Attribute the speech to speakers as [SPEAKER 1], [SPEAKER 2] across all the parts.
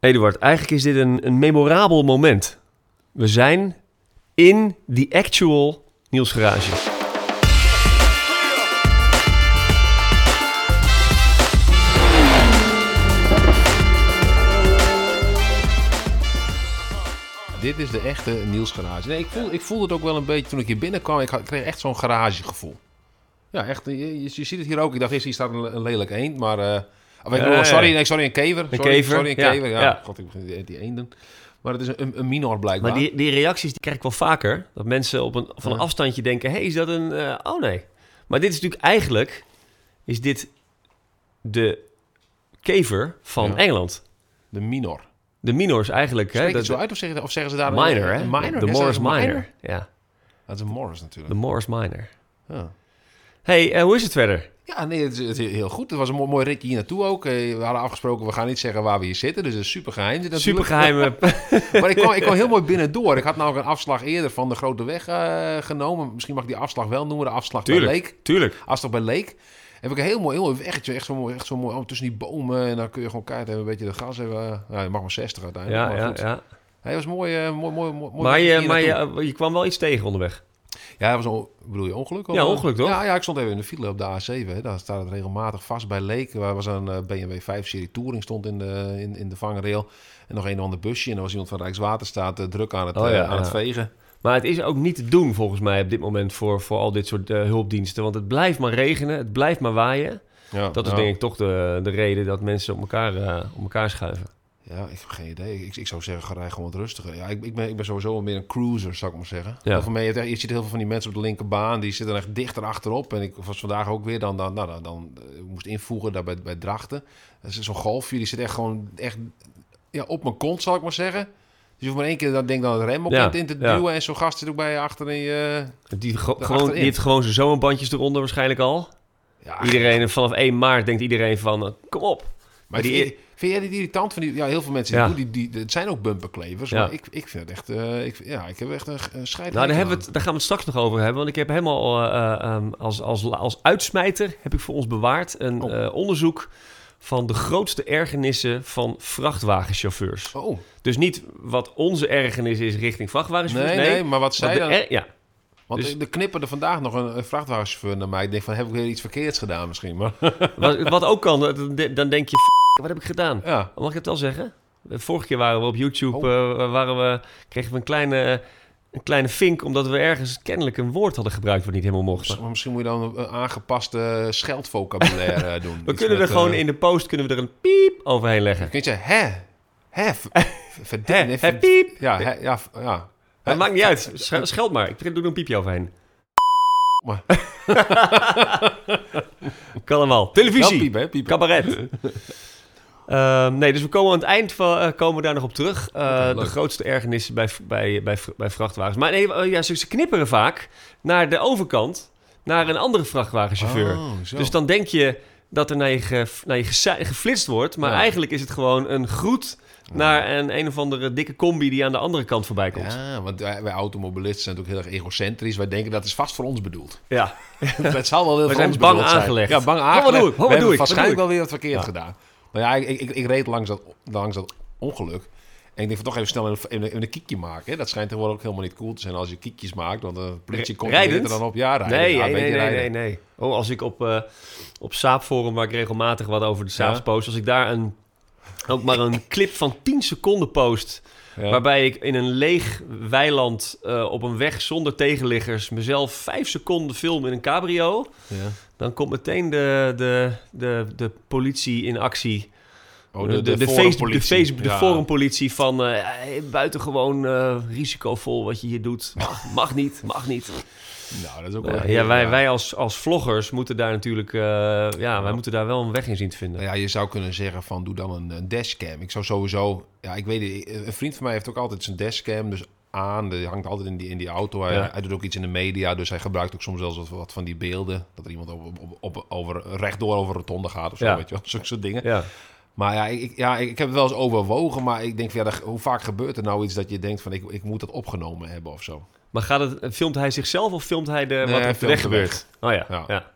[SPEAKER 1] Eduard, eigenlijk is dit een, een memorabel moment. We zijn in the actual Niels Garage.
[SPEAKER 2] Dit is de echte Niels garage. Nee, ik, voel, ik voelde het ook wel een beetje toen ik hier binnenkwam. Ik, had- ik kreeg echt zo'n garagegevoel. Ja, echt. Je, je- je ziet het hier ook. Ik dacht eerst, hier staat een, een lelijk eend, maar... eh, of ik
[SPEAKER 1] Ja,
[SPEAKER 2] bedoel,
[SPEAKER 1] ja.
[SPEAKER 2] sorry, nee, sorry, een kever. sorry,
[SPEAKER 1] kever,
[SPEAKER 2] Sorry, een
[SPEAKER 1] ja,
[SPEAKER 2] kever. Ja,
[SPEAKER 1] ja.
[SPEAKER 2] god, ik begin die, die eenden. Maar het is een, een minor blijkbaar.
[SPEAKER 1] Maar die, die reacties die krijg ik wel vaker. Dat mensen op een, van een afstandje denken: hé, hey, is dat een. eh, oh nee. Maar dit is natuurlijk eigenlijk. Is dit de kever van
[SPEAKER 2] Ja.
[SPEAKER 1] Engeland?
[SPEAKER 2] De minor.
[SPEAKER 1] De minors eigenlijk. Hè?
[SPEAKER 2] Spreek je
[SPEAKER 1] Dat-
[SPEAKER 2] het zo uit of zeggen, of zeggen ze daar... een-
[SPEAKER 1] minor,
[SPEAKER 2] een
[SPEAKER 1] hè?
[SPEAKER 2] minor?
[SPEAKER 1] De
[SPEAKER 2] Ja, zeggen
[SPEAKER 1] Morris
[SPEAKER 2] ze
[SPEAKER 1] minor.
[SPEAKER 2] minor?
[SPEAKER 1] Ja,
[SPEAKER 2] Dat is een Morris
[SPEAKER 1] de
[SPEAKER 2] natuurlijk.
[SPEAKER 1] Morris minor.
[SPEAKER 2] Ja.
[SPEAKER 1] hey, eh, hoe is het verder?
[SPEAKER 2] Ja, nee, het is, het is heel goed. Het was een mooi, mooi ritje hier naartoe ook. Eh, We hadden afgesproken, we gaan niet zeggen waar we hier zitten. Dus het is super geheim. dit natuurlijk.
[SPEAKER 1] Supergeheime.
[SPEAKER 2] Maar ik kwam, ik kwam heel mooi binnendoor. Ik had namelijk een afslag eerder van de Grote Weg eh, genomen. Misschien mag ik die afslag wel noemen. De afslag bij Leek.
[SPEAKER 1] tuurlijk.
[SPEAKER 2] Afslag bij Leek. Heb ik een heel mooi, heel mooi weggetje. Echt zo mooi, echt zo mooi oh, tussen die bomen. En dan kun je gewoon keihard even een beetje de gas hebben. Nou, je mag maar 60 uiteindelijk.
[SPEAKER 1] Ja,
[SPEAKER 2] maar
[SPEAKER 1] ja,
[SPEAKER 2] goed.
[SPEAKER 1] ja.
[SPEAKER 2] Hij was mooi, eh, mooi, mooi, mooi. mooi
[SPEAKER 1] Maar,
[SPEAKER 2] weggetje
[SPEAKER 1] je,
[SPEAKER 2] hier
[SPEAKER 1] maar
[SPEAKER 2] naartoe.
[SPEAKER 1] je, je kwam wel iets tegen onderweg.
[SPEAKER 2] Ja, dat was een, on- bedoel je ongeluk? of-
[SPEAKER 1] Ja, ongeluk, toch?
[SPEAKER 2] Ja, ja, ik stond even in de file op de A7. Hè. Daar staat het regelmatig vast bij Leek. Waar was een eh, BMW 5-serie Touring stond in de, in, in de vangrail. En nog een of ander busje. En dan was iemand van Rijkswaterstaat eh, druk aan het,
[SPEAKER 1] Oh,
[SPEAKER 2] eh,
[SPEAKER 1] ja,
[SPEAKER 2] aan het
[SPEAKER 1] ja.
[SPEAKER 2] vegen.
[SPEAKER 1] Maar het is ook niet te doen volgens mij op dit moment voor, voor al dit soort eh, hulpdiensten. Want het blijft maar regenen, het blijft maar waaien.
[SPEAKER 2] Ja,
[SPEAKER 1] Dat is
[SPEAKER 2] nou,
[SPEAKER 1] denk ik toch de, de reden dat mensen op elkaar, eh, op elkaar schuiven.
[SPEAKER 2] Ja, ik heb geen idee. Ik, ik zou zeggen, ga rij gewoon wat rustiger. Ja, ik, ik, ben, ik ben sowieso wel meer een cruiser, zou ik maar zeggen.
[SPEAKER 1] Ja.
[SPEAKER 2] Heel veel mee, je, hebt echt- je ziet heel veel van die mensen op de linkerbaan, die zitten echt dichter achterop. En ik was vandaag ook weer dan, dan, nou, dan, dan eh, moest invoegen daar bij, bij Drachten. Dat is zo'n golfje, die zit echt gewoon echt, ja, op mijn kont, zal ik maar zeggen. Dus je hoeft maar één keer dan, denk dan het rem op
[SPEAKER 1] Ja,
[SPEAKER 2] in te
[SPEAKER 1] ja.
[SPEAKER 2] duwen. En zo'n gast zit ook bij je achter en je...
[SPEAKER 1] Die, ge- gewoon,
[SPEAKER 2] Erachterin.
[SPEAKER 1] die heeft gewoon zijn zomerbandjes eronder waarschijnlijk al.
[SPEAKER 2] Ja,
[SPEAKER 1] Iedereen, vanaf 1 maart denkt iedereen van, eh, kom op.
[SPEAKER 2] Maar
[SPEAKER 1] Die-
[SPEAKER 2] vind, vind jij dit irritant? Van die, ja, heel veel mensen
[SPEAKER 1] Ja.
[SPEAKER 2] die doen die, die, het zijn ook bumperklevers.
[SPEAKER 1] Ja.
[SPEAKER 2] Maar ik, ik vind het echt... eh, ik, ja, ik heb echt een, een scheid.
[SPEAKER 1] Nou, daar,
[SPEAKER 2] hekel
[SPEAKER 1] hebben we het, daar gaan we het straks nog over hebben. Want ik heb helemaal eh, eh, ehm, als, als, als uitsmijter heb ik voor ons bewaard een
[SPEAKER 2] Oh.
[SPEAKER 1] eh, onderzoek van de grootste ergernissen van vrachtwagenchauffeurs.
[SPEAKER 2] aan. Oh,
[SPEAKER 1] Dus niet wat onze ergernis is richting vrachtwagenchauffeurs.
[SPEAKER 2] nee, nee, maar wat zij
[SPEAKER 1] wat de
[SPEAKER 2] dan...
[SPEAKER 1] er- ja.
[SPEAKER 2] Want
[SPEAKER 1] dus-
[SPEAKER 2] de knipperde vandaag nog een, een vrachtwagenchauffeur naar mij. Ik denk van, heb ik weer iets verkeerds gedaan misschien? Maar
[SPEAKER 1] wat, wat ook kan, dan de- dan denk je, "F***, wat heb ik gedaan?
[SPEAKER 2] ja,
[SPEAKER 1] Mag ik het wel zeggen? De Vorige keer waren we op
[SPEAKER 2] Oh.
[SPEAKER 1] YouTube, eh, waren we, kregen we een kleine, een kleine vink... omdat we ergens kennelijk een woord hadden gebruikt wat niet helemaal mocht.
[SPEAKER 2] maar misschien moet je dan een, een aangepaste scheldvocabulaire eh, doen.
[SPEAKER 1] We kunnen er gewoon in de post kunnen we er een piep overheen leggen.
[SPEAKER 2] Kun je zeggen, hè? Hè? v-
[SPEAKER 1] Hè,
[SPEAKER 2] Verdien?
[SPEAKER 1] hè, piep.
[SPEAKER 2] Ja, hè, ja, v- ja.
[SPEAKER 1] Het maakt niet uit. Sch- Scheld maar. Ik doe er een piepje overheen.
[SPEAKER 2] Maar-
[SPEAKER 1] kan allemaal.
[SPEAKER 2] Wel
[SPEAKER 1] Televisie.
[SPEAKER 2] piepen, hè? Piepen.
[SPEAKER 1] Cabaret. Ehm, nee, dus we komen aan het eind van, eh, komen we daar nog op terug. Eh,
[SPEAKER 2] leuk.
[SPEAKER 1] de grootste ergernissen bij, v- bij, bij, v- bij vrachtwagens. Maar nee, eh, ja, ze, ze knipperen vaak naar de overkant, naar een andere vrachtwagenchauffeur.
[SPEAKER 2] Oh, zo.
[SPEAKER 1] dus dan denk je dat er naar je, ge, naar je gesa- geflitst wordt. Maar
[SPEAKER 2] Ja.
[SPEAKER 1] eigenlijk is het gewoon een groet naar een een of andere dikke combi die aan de andere kant voorbij komt. Ja.
[SPEAKER 2] Ja, want wij, wij automobilisten zijn natuurlijk heel erg egocentrisch. Wij denken dat is vast voor ons bedoeld. Het zal wel heel
[SPEAKER 1] We
[SPEAKER 2] voor
[SPEAKER 1] zijn
[SPEAKER 2] ons
[SPEAKER 1] bang
[SPEAKER 2] bedoeld zijn.
[SPEAKER 1] aangelegd.
[SPEAKER 2] Ja, bang
[SPEAKER 1] Oh, wat
[SPEAKER 2] aangelegd.
[SPEAKER 1] doe ik? Oh, wat
[SPEAKER 2] We hebben
[SPEAKER 1] doe ik? Wat
[SPEAKER 2] waarschijnlijk
[SPEAKER 1] doe
[SPEAKER 2] wel weer wat verkeerd
[SPEAKER 1] Ja.
[SPEAKER 2] gedaan. Maar ja, ik, ik, ik reed langs dat, langs dat ongeluk. En ik denk van toch even snel een, een, een kiekje maken. hè. Dat schijnt tegenwoordig ook helemaal niet cool te zijn als je kiekjes maakt. Want de politie komt er
[SPEAKER 1] Rijdend?
[SPEAKER 2] dan op. Ja, rijden.
[SPEAKER 1] Nee,
[SPEAKER 2] Ja,
[SPEAKER 1] nee,
[SPEAKER 2] een
[SPEAKER 1] nee,
[SPEAKER 2] beetje
[SPEAKER 1] nee,
[SPEAKER 2] rijden.
[SPEAKER 1] nee, nee. Oh, als ik op, eh op Saapforum, waar ik regelmatig wat over de Saaps
[SPEAKER 2] Ja.
[SPEAKER 1] post, als ik daar een, ook maar een clip van 10 seconden post,
[SPEAKER 2] Ja.
[SPEAKER 1] waarbij ik in een leeg weiland eh, op een weg zonder tegenliggers mezelf 5 seconden film in een cabrio,
[SPEAKER 2] Ja.
[SPEAKER 1] dan komt meteen de, de, de, de politie in actie.
[SPEAKER 2] Oh,
[SPEAKER 1] de, de, de,
[SPEAKER 2] forumpolitie.
[SPEAKER 1] face- de, face- de
[SPEAKER 2] Ja.
[SPEAKER 1] forumpolitie van eh, buitengewoon eh, risicovol wat je hier doet. Mag, mag niet, mag niet.
[SPEAKER 2] Nou, dat is ook wel
[SPEAKER 1] Eh, Ja,
[SPEAKER 2] heel-
[SPEAKER 1] ja, wij, wij als, als vloggers moeten daar natuurlijk... eh, ja, wij moeten daar wel een weg in zien te vinden.
[SPEAKER 2] Nou ja, je zou kunnen zeggen van doe dan een, een dashcam. Ik zou sowieso, ja, ik weet niet, een vriend van mij heeft ook altijd zijn dashcam dus aan. Die hangt altijd in die, in die auto. Hij,
[SPEAKER 1] Ja.
[SPEAKER 2] hij doet ook iets in de media, dus hij gebruikt ook soms zelfs wat, wat van die beelden. Dat er iemand op, op, op, over, rechtdoor over een rotonde gaat of zo,
[SPEAKER 1] Ja.
[SPEAKER 2] weet je wel. Zulke soort dingen.
[SPEAKER 1] Ja.
[SPEAKER 2] Maar ja ik, ik- ja, ik heb het wel eens overwogen, maar ik denk van ja, daar- hoe vaak gebeurt er nou iets dat je denkt van ik, ik moet dat opgenomen hebben of zo.
[SPEAKER 1] Maar gaat het, filmt hij zichzelf of filmt hij de,
[SPEAKER 2] Nee,
[SPEAKER 1] wat
[SPEAKER 2] hij
[SPEAKER 1] er op de
[SPEAKER 2] filmt
[SPEAKER 1] weg
[SPEAKER 2] de
[SPEAKER 1] gebeurt? Oh ja, ja.
[SPEAKER 2] Ja.
[SPEAKER 1] ja.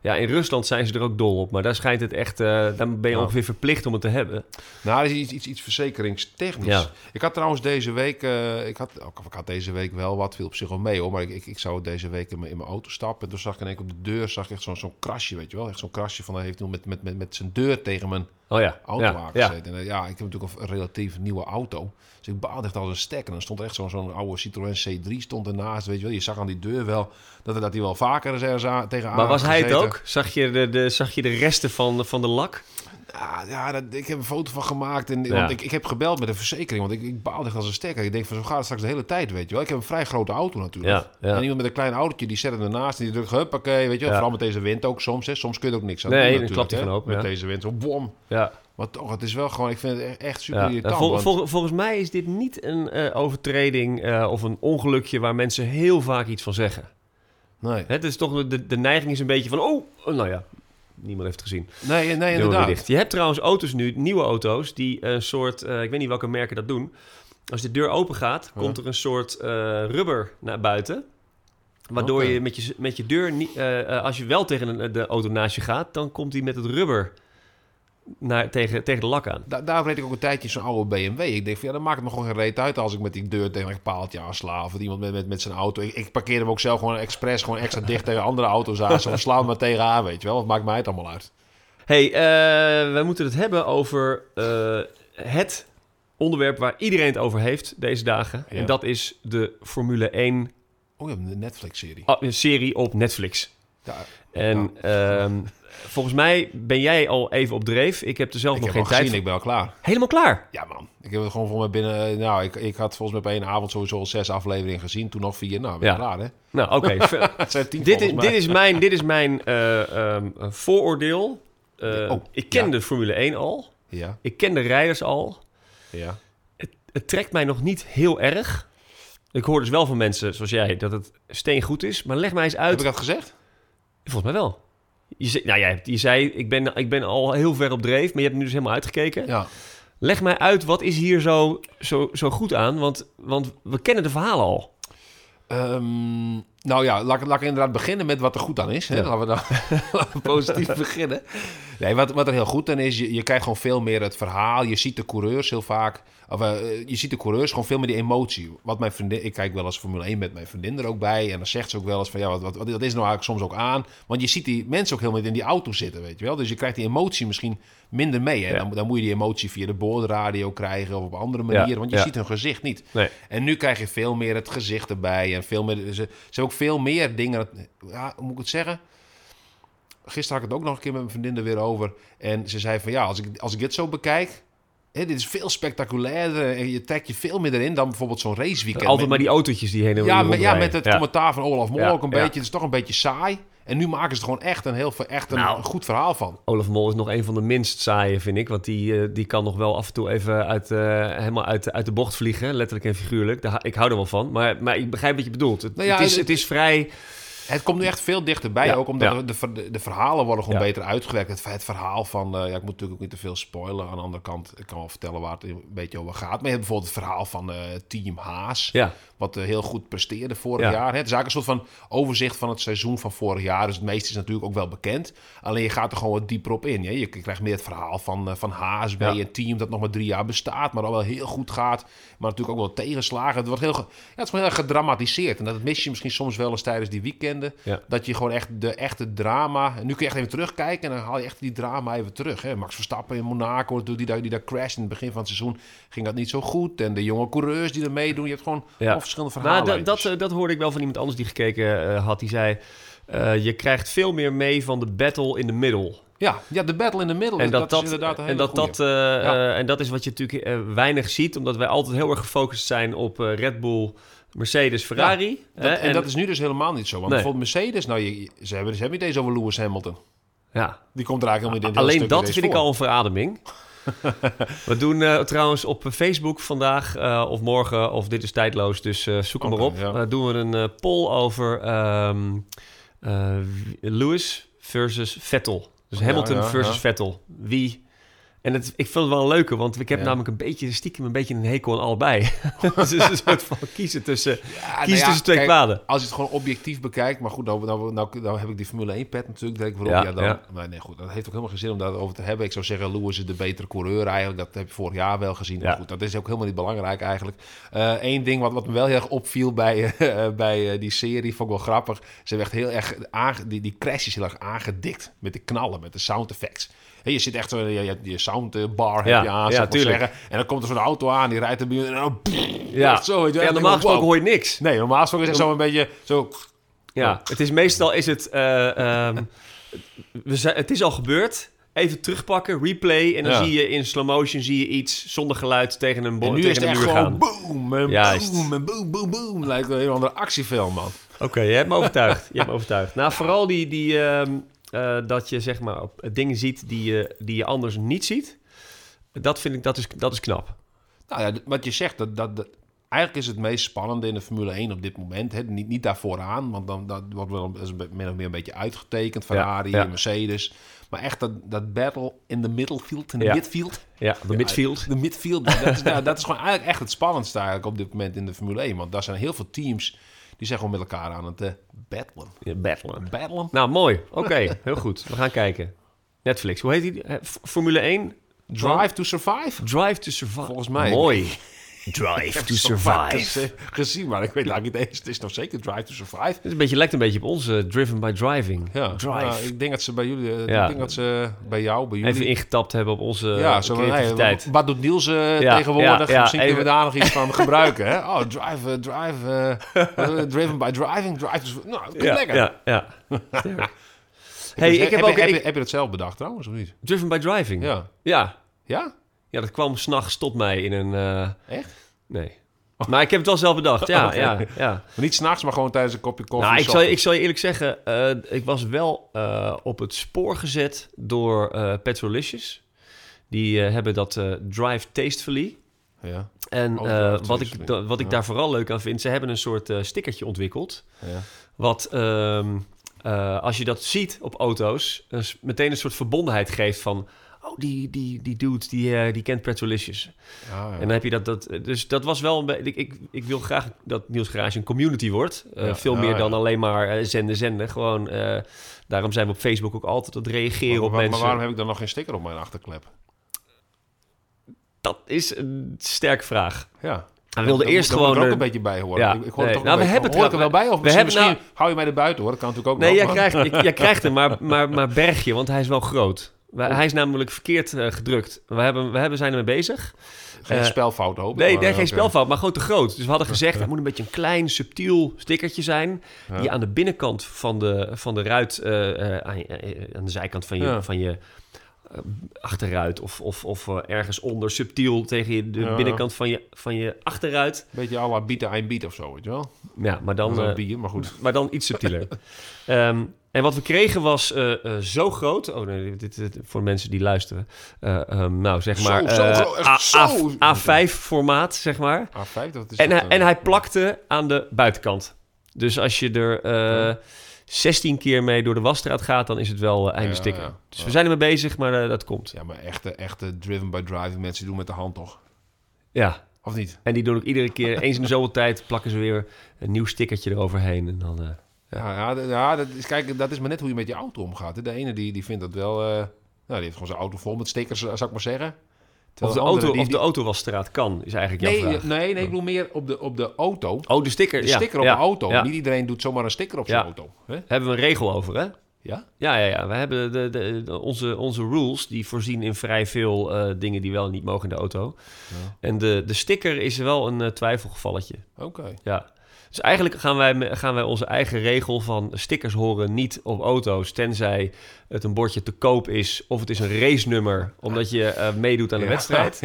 [SPEAKER 1] Ja, in Rusland zijn ze er ook dol op, maar daar schijnt het echt... eh, daar ben je
[SPEAKER 2] Ja.
[SPEAKER 1] ongeveer verplicht om het te hebben.
[SPEAKER 2] Nou, dat is iets, iets, iets verzekeringstechnisch.
[SPEAKER 1] Ja.
[SPEAKER 2] Ik had trouwens deze week, eh, ik, had, ook- ik had deze week wel wat, viel op zich wel mee hoor, maar ik, ik, ik zou deze week in mijn, in mijn auto stappen. En toen zag ik in één keer op de deur, zag ik echt zo'n zo'n krasje, weet je wel. Echt zo'n krasje van, hij heeft iemand met, met, met, met zijn deur tegen mijn
[SPEAKER 1] Oh ja,
[SPEAKER 2] auto
[SPEAKER 1] ja, ja.
[SPEAKER 2] aangezet. En eh, ja, ik heb natuurlijk een relatief nieuwe auto. Dus ik baalde echt als een stek. En dan stond er echt zo'n zo'n oude Citroën C3 stond ernaast, weet je wel. Je zag aan die deur wel dat hij dat hij wel vaker eens ergens aan- tegenaan
[SPEAKER 1] Maar was
[SPEAKER 2] had
[SPEAKER 1] hij het
[SPEAKER 2] gezeten.
[SPEAKER 1] ook? Zag je de, de, zag je de resten van, van de lak?
[SPEAKER 2] Ja, ja dat, ik heb een foto van gemaakt. En,
[SPEAKER 1] Ja.
[SPEAKER 2] Want ik, ik heb gebeld met de verzekering. Want ik, ik baal echt als een stekker. Ik denk van zo gaat het straks de hele tijd, weet je wel. Ik heb een vrij grote auto natuurlijk.
[SPEAKER 1] Ja, ja.
[SPEAKER 2] En iemand met een klein autootje, die zet hem ernaast. En die drukt, huppakee, weet je wel.
[SPEAKER 1] Ja.
[SPEAKER 2] Vooral met deze wind ook soms. Hè. Soms kun je er ook niks aan
[SPEAKER 1] Nee,
[SPEAKER 2] doen
[SPEAKER 1] dan
[SPEAKER 2] natuurlijk,
[SPEAKER 1] klapt hij
[SPEAKER 2] hè.
[SPEAKER 1] gewoon open,
[SPEAKER 2] Met
[SPEAKER 1] ja.
[SPEAKER 2] deze wind, zo bom.
[SPEAKER 1] Ja.
[SPEAKER 2] Maar toch, het is wel gewoon... Ik vind het echt- echt super
[SPEAKER 1] Ja.
[SPEAKER 2] irritant.
[SPEAKER 1] Vol-
[SPEAKER 2] want-
[SPEAKER 1] vol- volgens mij is dit niet een eh, overtreding eh, of een ongelukje waar mensen heel vaak iets van zeggen.
[SPEAKER 2] nee.
[SPEAKER 1] Het is dus toch de, de neiging is een beetje van, oh, oh, nou ja, niemand heeft het gezien.
[SPEAKER 2] nee, nee,
[SPEAKER 1] Doen we weer
[SPEAKER 2] inderdaad.
[SPEAKER 1] dicht. Je hebt trouwens auto's nu, nieuwe auto's, die een soort, eh, ik weet niet welke merken dat doen. Als de deur open gaat,
[SPEAKER 2] Ja.
[SPEAKER 1] komt er een soort eh, rubber naar buiten. Waardoor
[SPEAKER 2] Oké.
[SPEAKER 1] je, met je met je deur, niet, eh, eh, als je wel tegen een, de auto naast je gaat, dan komt die met het rubber naar, tegen, tegen de lak aan.
[SPEAKER 2] Da daar reed ik ook een tijdje in zo'n oude BMW. Ik denk van ja, dan maakt het me gewoon geen reet uit als ik met die deur tegen een paaltje aansla. Of iemand met, met, met zijn auto. Ik, ik parkeer hem ook zelf gewoon expres gewoon extra dicht tegen andere auto's aan. Zo van, sla hem maar tegen aan, weet je wel. Wat maakt mij het allemaal uit?
[SPEAKER 1] Hey, eh, we moeten het hebben over eh, het onderwerp waar iedereen het over heeft deze dagen.
[SPEAKER 2] Ja.
[SPEAKER 1] En dat is de Formule 1
[SPEAKER 2] Oh, je hebt een Netflix-serie.
[SPEAKER 1] a- Ah, serie op Netflix.
[SPEAKER 2] Ja,
[SPEAKER 1] En
[SPEAKER 2] Oh.
[SPEAKER 1] ehm, volgens mij ben jij al even op dreef. Ik heb er zelf
[SPEAKER 2] ik
[SPEAKER 1] nog
[SPEAKER 2] heb
[SPEAKER 1] geen
[SPEAKER 2] al
[SPEAKER 1] tijd
[SPEAKER 2] gezien, ik ben al klaar.
[SPEAKER 1] voor. Helemaal klaar.
[SPEAKER 2] Ja man, ik heb het gewoon voor me binnen... Nou, ik, ik had volgens mij op één avond sowieso al zes afleveringen gezien. Toen nog vier. Nou, ben
[SPEAKER 1] Ja.
[SPEAKER 2] ik klaar hè.
[SPEAKER 1] Nou, oké. ver-
[SPEAKER 2] Het zijn tien
[SPEAKER 1] dit, is,
[SPEAKER 2] volgens mij.
[SPEAKER 1] dit is mijn, dit is mijn eh, ehm, vooroordeel. Eh,
[SPEAKER 2] Oh,
[SPEAKER 1] ik ken
[SPEAKER 2] ja.
[SPEAKER 1] de Formule 1 al.
[SPEAKER 2] Ja,
[SPEAKER 1] Ik ken de rijders al.
[SPEAKER 2] ja.
[SPEAKER 1] het trekt mij nog niet heel erg. Ik hoor dus wel van mensen zoals jij dat het steengoed is. Maar leg mij eens
[SPEAKER 2] Heb
[SPEAKER 1] uit.
[SPEAKER 2] ik dat gezegd?
[SPEAKER 1] Volgens mij wel. Je zei, nou, jij, hebt- je zei ik, ben, ik ben al heel ver op dreef, maar je hebt nu dus helemaal uitgekeken.
[SPEAKER 2] Ja.
[SPEAKER 1] Leg mij uit, wat is hier zo, zo, zo goed aan? Want, want we kennen de verhalen al.
[SPEAKER 2] Ehm, nou ja, laat, ik- laat ik inderdaad beginnen met wat er goed aan is. Hè?
[SPEAKER 1] Ja.
[SPEAKER 2] Laten we dan positief beginnen. Nee, wat, wat er heel goed aan is, je, je krijgt gewoon veel meer het verhaal. Je ziet de coureurs heel vaak. Of, eh, je ziet de coureurs gewoon veel meer die emotie. Wat mijn vriendin, ik kijk wel eens Formule 1 met mijn vriendin er ook bij. En dan zegt ze ook wel eens van ja, wat, wat, wat dat is nou eigenlijk soms ook aan. Want je ziet die mensen ook heel met in die auto zitten, weet je wel. Dus je krijgt die emotie misschien minder mee. Hè?
[SPEAKER 1] Ja.
[SPEAKER 2] Dan, dan moet je die emotie via de boordradio krijgen of op andere manieren. want je
[SPEAKER 1] ja.
[SPEAKER 2] ziet hun gezicht niet.
[SPEAKER 1] Nee.
[SPEAKER 2] En nu krijg je veel meer het gezicht erbij. En veel meer, ze, ze hebben ook veel meer dingen. Ja, hoe moet ik het zeggen? Gisteren had ik het ook nog een keer met mijn vriendin er weer over. En ze zei van ja, als ik, als ik dit zo bekijk. Hè, dit is veel spectaculairder. En je trekt je veel meer erin dan bijvoorbeeld zo'n raceweekend.
[SPEAKER 1] Altijd maar die autootjes die heen en
[SPEAKER 2] ja,
[SPEAKER 1] weer
[SPEAKER 2] met, ja,
[SPEAKER 1] rondrijden.
[SPEAKER 2] met het commentaar van Olaf Mol
[SPEAKER 1] Ja,
[SPEAKER 2] ook een
[SPEAKER 1] ja.
[SPEAKER 2] beetje. Het is toch een beetje saai. En nu maken ze er gewoon echt een heel ver- echt een,
[SPEAKER 1] Nou.
[SPEAKER 2] een goed verhaal van.
[SPEAKER 1] Olaf Mol is nog een van de minst saaie, vind ik. Want die, eh, die kan nog wel af en toe even uit, eh, helemaal uit, uit de bocht vliegen. Letterlijk en figuurlijk. Daar, ik hou er wel van. Maar, maar ik begrijp wat je bedoelt. Het,
[SPEAKER 2] Nou ja,
[SPEAKER 1] het, is,
[SPEAKER 2] het-
[SPEAKER 1] het is vrij...
[SPEAKER 2] Het komt nu echt veel dichterbij,
[SPEAKER 1] Ja,
[SPEAKER 2] ook omdat
[SPEAKER 1] ja.
[SPEAKER 2] de, ver- de, de verhalen worden gewoon
[SPEAKER 1] Ja.
[SPEAKER 2] beter uitgewerkt. Het, het verhaal van, eh, ja, ik moet natuurlijk ook niet te veel spoilen. Aan de andere kant, ik kan wel vertellen waar het een beetje over gaat. Maar je hebt bijvoorbeeld het verhaal van eh, Team Haas,
[SPEAKER 1] Ja,
[SPEAKER 2] wat eh, heel goed presteerde vorig
[SPEAKER 1] Ja.
[SPEAKER 2] jaar. hè. Het is eigenlijk een soort van overzicht van het seizoen van vorig jaar. Dus het meeste is natuurlijk ook wel bekend. Alleen je gaat er gewoon wat dieper op in. Hè? Je krijgt meer het verhaal van, eh, van Haas bij
[SPEAKER 1] Ja.
[SPEAKER 2] een team dat nog maar drie jaar bestaat, maar al wel heel goed gaat. Maar natuurlijk ook wel tegenslagen. Het, wordt heel ge- ja, het is gewoon heel erg gedramatiseerd. En dat mis je misschien soms wel eens tijdens die weekenden.
[SPEAKER 1] Ja.
[SPEAKER 2] Dat je gewoon echt de echte drama. En nu kun je echt even terugkijken en dan haal je echt die drama even terug. Hè? Max Verstappen in Monaco, natuurlijk, die daar, die daar crasht in het begin van het seizoen, ging dat niet zo goed. En de jonge coureurs die er meedoen. Je hebt gewoon
[SPEAKER 1] ja.
[SPEAKER 2] of verschillende
[SPEAKER 1] Nou,
[SPEAKER 2] verhalen.
[SPEAKER 1] dat, dat, eh, dat hoorde ik wel van iemand anders die gekeken eh, had. Die zei, eh, je krijgt veel meer mee van de battle in the middle.
[SPEAKER 2] ja, ja, de battle in the middle.
[SPEAKER 1] En dat
[SPEAKER 2] Oh, dus dat,
[SPEAKER 1] dat,
[SPEAKER 2] is inderdaad een hele
[SPEAKER 1] en dat,
[SPEAKER 2] goeie.
[SPEAKER 1] dat, eh, eh, en dat is wat je natuurlijk eh, weinig ziet. Omdat wij altijd heel erg gefocust zijn op eh, Red Bull, Mercedes, Ferrari.
[SPEAKER 2] Dat-
[SPEAKER 1] hè,
[SPEAKER 2] en, dat is nu dus helemaal niet zo. Want
[SPEAKER 1] Nee.
[SPEAKER 2] bijvoorbeeld Mercedes, nou, je, je- ze, hebben, ze hebben niet eens over Lewis Hamilton.
[SPEAKER 1] Ja,
[SPEAKER 2] Die komt er eigenlijk helemaal niet in.
[SPEAKER 1] Alleen dat vind ik al een verademing. We doen eh, trouwens op Facebook vandaag eh, of morgen, of dit is tijdloos, dus eh, zoek hem
[SPEAKER 2] Oké,
[SPEAKER 1] maar op.
[SPEAKER 2] ja.
[SPEAKER 1] Eh, doen we een eh, poll over ehm, eh, Lewis versus Vettel. Dus
[SPEAKER 2] Ja,
[SPEAKER 1] Hamilton
[SPEAKER 2] ja,
[SPEAKER 1] versus
[SPEAKER 2] ja.
[SPEAKER 1] Vettel. Wie En het, ik vind het wel een leuke, want ik heb
[SPEAKER 2] Ja.
[SPEAKER 1] namelijk een beetje, stiekem een beetje een hekel aan allebei. dus het is een soort van kiezen tussen,
[SPEAKER 2] Ja, nou
[SPEAKER 1] kiezen
[SPEAKER 2] ja,
[SPEAKER 1] tussen twee
[SPEAKER 2] kijk,
[SPEAKER 1] kwaden.
[SPEAKER 2] Als je het gewoon objectief bekijkt, maar goed, nou, nou, nou, nou heb ik die Formule 1 pet natuurlijk, denk ik waarop,
[SPEAKER 1] Ja,
[SPEAKER 2] ja, dan,
[SPEAKER 1] ja.
[SPEAKER 2] Maar nee, goed, dat heeft ook helemaal geen zin om daarover te hebben. Ik zou zeggen, Lewis is de betere coureur eigenlijk, dat heb je vorig jaar wel gezien. Maar
[SPEAKER 1] Ja.
[SPEAKER 2] goed, dat is ook helemaal niet belangrijk eigenlijk. Eén ding wat, wat me wel heel erg opviel bij, eh, bij eh, die serie, vond ik wel grappig. Ze hebben echt heel erg, aange- die, die crash is heel erg aangedikt met de knallen, met de sound effects. Hé, je zit echt, zo- je, je, je soundbar heb
[SPEAKER 1] Ja,
[SPEAKER 2] je aan,
[SPEAKER 1] ja,
[SPEAKER 2] zou ik maar
[SPEAKER 1] tuurlijk.
[SPEAKER 2] zeggen. En dan komt er zo'n auto aan, die rijdt er binnen en dan...
[SPEAKER 1] Ja,
[SPEAKER 2] zo, weet je wel.
[SPEAKER 1] ja
[SPEAKER 2] Ik denk,
[SPEAKER 1] normaal gesproken
[SPEAKER 2] wow.
[SPEAKER 1] hoor je niks.
[SPEAKER 2] Nee, normaal gesproken is het zo een beetje zo.
[SPEAKER 1] Ja, Oh. het is meestal is het, eh, ehm, we zijn, het is al gebeurd. Even terugpakken, replay. En dan
[SPEAKER 2] Ja.
[SPEAKER 1] zie je in slow motion zie je iets zonder geluid tegen een, bo-
[SPEAKER 2] En nu is
[SPEAKER 1] tegen
[SPEAKER 2] het
[SPEAKER 1] een
[SPEAKER 2] echt
[SPEAKER 1] muur
[SPEAKER 2] gewoon
[SPEAKER 1] gaan.
[SPEAKER 2] boom en
[SPEAKER 1] Juist.
[SPEAKER 2] boom en boom, boom, boom. Lijkt wel een heel andere actiefilm, man.
[SPEAKER 1] Oké, je hebt me overtuigd. Je hebt me overtuigd. Nou, vooral die, die, ehm, eh, dat je zeg maar op- dingen ziet die je, die je anders niet ziet. Dat vind ik, dat is, dat is knap.
[SPEAKER 2] Nou ja, d- wat je zegt, dat, dat, dat- eigenlijk is het meest spannende in de Formule 1 op dit moment. Hè. Niet, niet daarvoor aan, want dan dat wordt wel dat is een be- min of meer een beetje uitgetekend. Ferrari,
[SPEAKER 1] ja.
[SPEAKER 2] Mercedes. Maar echt dat, dat battle in the midfield, in the
[SPEAKER 1] Ja.
[SPEAKER 2] midfield.
[SPEAKER 1] Ja, de midfield.
[SPEAKER 2] De midfield, dat is, nou, dat is gewoon eigenlijk echt het spannendste eigenlijk op dit moment in de Formule 1. Want daar zijn heel veel teams die zijn gewoon met elkaar aan het eh, battelen.
[SPEAKER 1] Ja, Battlen.
[SPEAKER 2] Battelen?
[SPEAKER 1] Nou, mooi. Oké, heel goed. We gaan kijken. Netflix, hoe heet die? Eh, F- Formule 1?
[SPEAKER 2] Drive to survive?
[SPEAKER 1] Drive to Survive.
[SPEAKER 2] Volgens mij.
[SPEAKER 1] Mooi. Drive to Survive.
[SPEAKER 2] Survive. Gezien, maar ik weet eigenlijk niet eens. Het is nog zeker Drive to Survive.
[SPEAKER 1] Het is een beetje, lijkt een beetje op ons, eh, Driven by Driving.
[SPEAKER 2] Ja,
[SPEAKER 1] Drive.
[SPEAKER 2] nou, ik denk dat ze bij jullie, eh,
[SPEAKER 1] Ja.
[SPEAKER 2] ik denk dat ze bij jou, bij jullie.
[SPEAKER 1] Even ingetapt hebben op onze
[SPEAKER 2] ja,
[SPEAKER 1] ja,
[SPEAKER 2] zo van, hey,
[SPEAKER 1] creativiteit.
[SPEAKER 2] wat doet Niels eh,
[SPEAKER 1] Ja,
[SPEAKER 2] tegenwoordig?
[SPEAKER 1] ja, ja,
[SPEAKER 2] Misschien kunnen we
[SPEAKER 1] even-
[SPEAKER 2] daar nog iets van gebruiken. Hè? Oh, drive, eh, drive, eh, eh, driven by driving, drive. to sur- Nou, dat klinkt
[SPEAKER 1] ja,
[SPEAKER 2] lekker.
[SPEAKER 1] ja, ja. Sterk. hey, ik heb ook...
[SPEAKER 2] je- Heb,
[SPEAKER 1] ik-
[SPEAKER 2] je, heb je dat zelf bedacht trouwens, of niet?
[SPEAKER 1] Driven by Driving. Ja.
[SPEAKER 2] Ja.
[SPEAKER 1] ja.
[SPEAKER 2] Ja?
[SPEAKER 1] dat kwam s'nachts tot mij in een... eh,
[SPEAKER 2] Echt?
[SPEAKER 1] nee. Maar ik heb het wel zelf bedacht, ja,
[SPEAKER 2] Oké.
[SPEAKER 1] ja, ja.
[SPEAKER 2] Maar niet s'nachts, maar gewoon tijdens een kopje koffie.
[SPEAKER 1] Nou, ik
[SPEAKER 2] s
[SPEAKER 1] zal, je- ik
[SPEAKER 2] ochtends.
[SPEAKER 1] zal je eerlijk zeggen, eh, ik was wel eh, op het spoor gezet door eh Petrolicious. Die eh, hebben dat eh, Drive Tastefully.
[SPEAKER 2] Ja,
[SPEAKER 1] En
[SPEAKER 2] Oh,
[SPEAKER 1] eh,
[SPEAKER 2] Drive
[SPEAKER 1] wat,
[SPEAKER 2] Tastefully.
[SPEAKER 1] ik, da- wat ik
[SPEAKER 2] Ja.
[SPEAKER 1] daar vooral leuk aan vind, ze hebben een soort eh, stickertje ontwikkeld.
[SPEAKER 2] ja.
[SPEAKER 1] Wat ehm, eh, als je dat ziet op auto's, eh, s- meteen een soort verbondenheid geeft van. Oh, die, die, die dude, die, eh, die kent Petrolicious.
[SPEAKER 2] Ah, ja.
[SPEAKER 1] En dan heb je dat, dat... Dus dat was wel... een be- Ik, ik, ik wil graag dat Niels Garage een community wordt. Eh,
[SPEAKER 2] Ja.
[SPEAKER 1] veel
[SPEAKER 2] Ja,
[SPEAKER 1] meer
[SPEAKER 2] ja.
[SPEAKER 1] dan alleen maar eh, zenden, zenden. Gewoon... eh, daarom zijn we op Facebook ook altijd aan het reageren
[SPEAKER 2] maar,
[SPEAKER 1] op
[SPEAKER 2] maar- maar
[SPEAKER 1] mensen.
[SPEAKER 2] waarom heb ik dan nog geen sticker op mijn achterklep?
[SPEAKER 1] Dat is een sterke vraag.
[SPEAKER 2] Ja.
[SPEAKER 1] Hij wilde
[SPEAKER 2] Dat
[SPEAKER 1] eerst
[SPEAKER 2] Ah, moet- dat
[SPEAKER 1] gewoon...
[SPEAKER 2] moet er ook
[SPEAKER 1] een-
[SPEAKER 2] een beetje bij horen.
[SPEAKER 1] ja,
[SPEAKER 2] Ik, ik hoor
[SPEAKER 1] nee.
[SPEAKER 2] het toch
[SPEAKER 1] Nou,
[SPEAKER 2] een
[SPEAKER 1] we
[SPEAKER 2] beetje
[SPEAKER 1] hebben
[SPEAKER 2] hoor ik er wel
[SPEAKER 1] het
[SPEAKER 2] bij? Of
[SPEAKER 1] we
[SPEAKER 2] misschien,
[SPEAKER 1] hebben- nou-
[SPEAKER 2] misschien hou je mij er buiten hoor. Dat kan natuurlijk ook
[SPEAKER 1] Nee,
[SPEAKER 2] nog,
[SPEAKER 1] jij
[SPEAKER 2] maar-
[SPEAKER 1] krijgt, ik- jij krijgt hem, maar, maar, maar berg je. Want hij is wel groot. Wij-
[SPEAKER 2] Oh.
[SPEAKER 1] Hij is namelijk verkeerd eh, gedrukt. We, hebben, we hebben, zijn ermee bezig.
[SPEAKER 2] Geen
[SPEAKER 1] eh,
[SPEAKER 2] spelfout hoop ik,
[SPEAKER 1] Nee,
[SPEAKER 2] maar,
[SPEAKER 1] nee,
[SPEAKER 2] oh, oké.
[SPEAKER 1] geen spelfout, maar gewoon te groot. Dus we hadden gezegd, het moet een beetje een klein, subtiel stickertje zijn...
[SPEAKER 2] Ja.
[SPEAKER 1] die aan de binnenkant van de, van de ruit, eh, eh, aan, je- eh, aan de zijkant van je,
[SPEAKER 2] Ja.
[SPEAKER 1] van je eh, achterruit... of, of, of eh, ergens onder, subtiel tegen je, de
[SPEAKER 2] Ja.
[SPEAKER 1] binnenkant van je, van je achterruit.
[SPEAKER 2] Beetje à la bieten ein biet of zo, weet je wel.
[SPEAKER 1] Ja, maar
[SPEAKER 2] Dan
[SPEAKER 1] dan, eh,
[SPEAKER 2] bier, maar goed.
[SPEAKER 1] maar dan iets subtieler. Ehm, en wat we kregen was eh, eh, zo groot... Oh nee, dit, dit- voor mensen die luisteren. Eh, ehm, nou, zeg
[SPEAKER 2] Zo,
[SPEAKER 1] maar...
[SPEAKER 2] zo
[SPEAKER 1] eh,
[SPEAKER 2] groot, echt
[SPEAKER 1] A-
[SPEAKER 2] zo.
[SPEAKER 1] A- A5-formaat, zeg maar...
[SPEAKER 2] A5, dat is...
[SPEAKER 1] En,
[SPEAKER 2] dat,
[SPEAKER 1] hij,
[SPEAKER 2] eh,
[SPEAKER 1] en hij plakte aan de buitenkant. Dus als je er eh, 16 keer mee door de wasstraat gaat, dan is het wel eh, einde
[SPEAKER 2] Ja,
[SPEAKER 1] stikken.
[SPEAKER 2] ja,
[SPEAKER 1] Dus we zijn ermee bezig, maar eh, dat komt.
[SPEAKER 2] Ja, maar echte, echte driven by driving mensen doen met de hand toch?
[SPEAKER 1] Ja.
[SPEAKER 2] Of niet?
[SPEAKER 1] En die doen ook iedere keer, eens in de zoveel tijd, plakken ze weer een nieuw stickertje eroverheen. En dan, eh,
[SPEAKER 2] Ja, ja, d- ja, dat is, kijk, dat is maar net hoe je met je auto omgaat. hè. De ene die, die vindt dat wel... eh, nou, die heeft gewoon zijn auto vol met stickers, eh, zou ik maar zeggen.
[SPEAKER 1] of,
[SPEAKER 2] Terwijl
[SPEAKER 1] de
[SPEAKER 2] andere
[SPEAKER 1] auto,
[SPEAKER 2] die-
[SPEAKER 1] of de autowasstraat kan, is eigenlijk jouw
[SPEAKER 2] Nee,
[SPEAKER 1] vraag.
[SPEAKER 2] nee, nee, ik bedoel meer op de, op de auto.
[SPEAKER 1] Oh, de sticker.
[SPEAKER 2] De
[SPEAKER 1] ja,
[SPEAKER 2] sticker op
[SPEAKER 1] ja,
[SPEAKER 2] de auto.
[SPEAKER 1] ja.
[SPEAKER 2] Niet iedereen doet zomaar een sticker op zijn
[SPEAKER 1] Ja.
[SPEAKER 2] auto. Hè?
[SPEAKER 1] Daar hebben we een regel over, hè?
[SPEAKER 2] Ja?
[SPEAKER 1] Ja, ja, ja. We hebben de, de, de- onze, onze rules, die voorzien in vrij veel eh, dingen die wel en niet mogen in de auto.
[SPEAKER 2] Ja.
[SPEAKER 1] En de, de sticker is wel een eh, twijfelgevalletje.
[SPEAKER 2] Oké.
[SPEAKER 1] Ja. Dus eigenlijk gaan wij, me- gaan wij onze eigen regel van stickers horen niet op auto's, tenzij het een bordje te koop is of het is een racenummer, omdat je eh, meedoet aan de
[SPEAKER 2] Ja.
[SPEAKER 1] wedstrijd.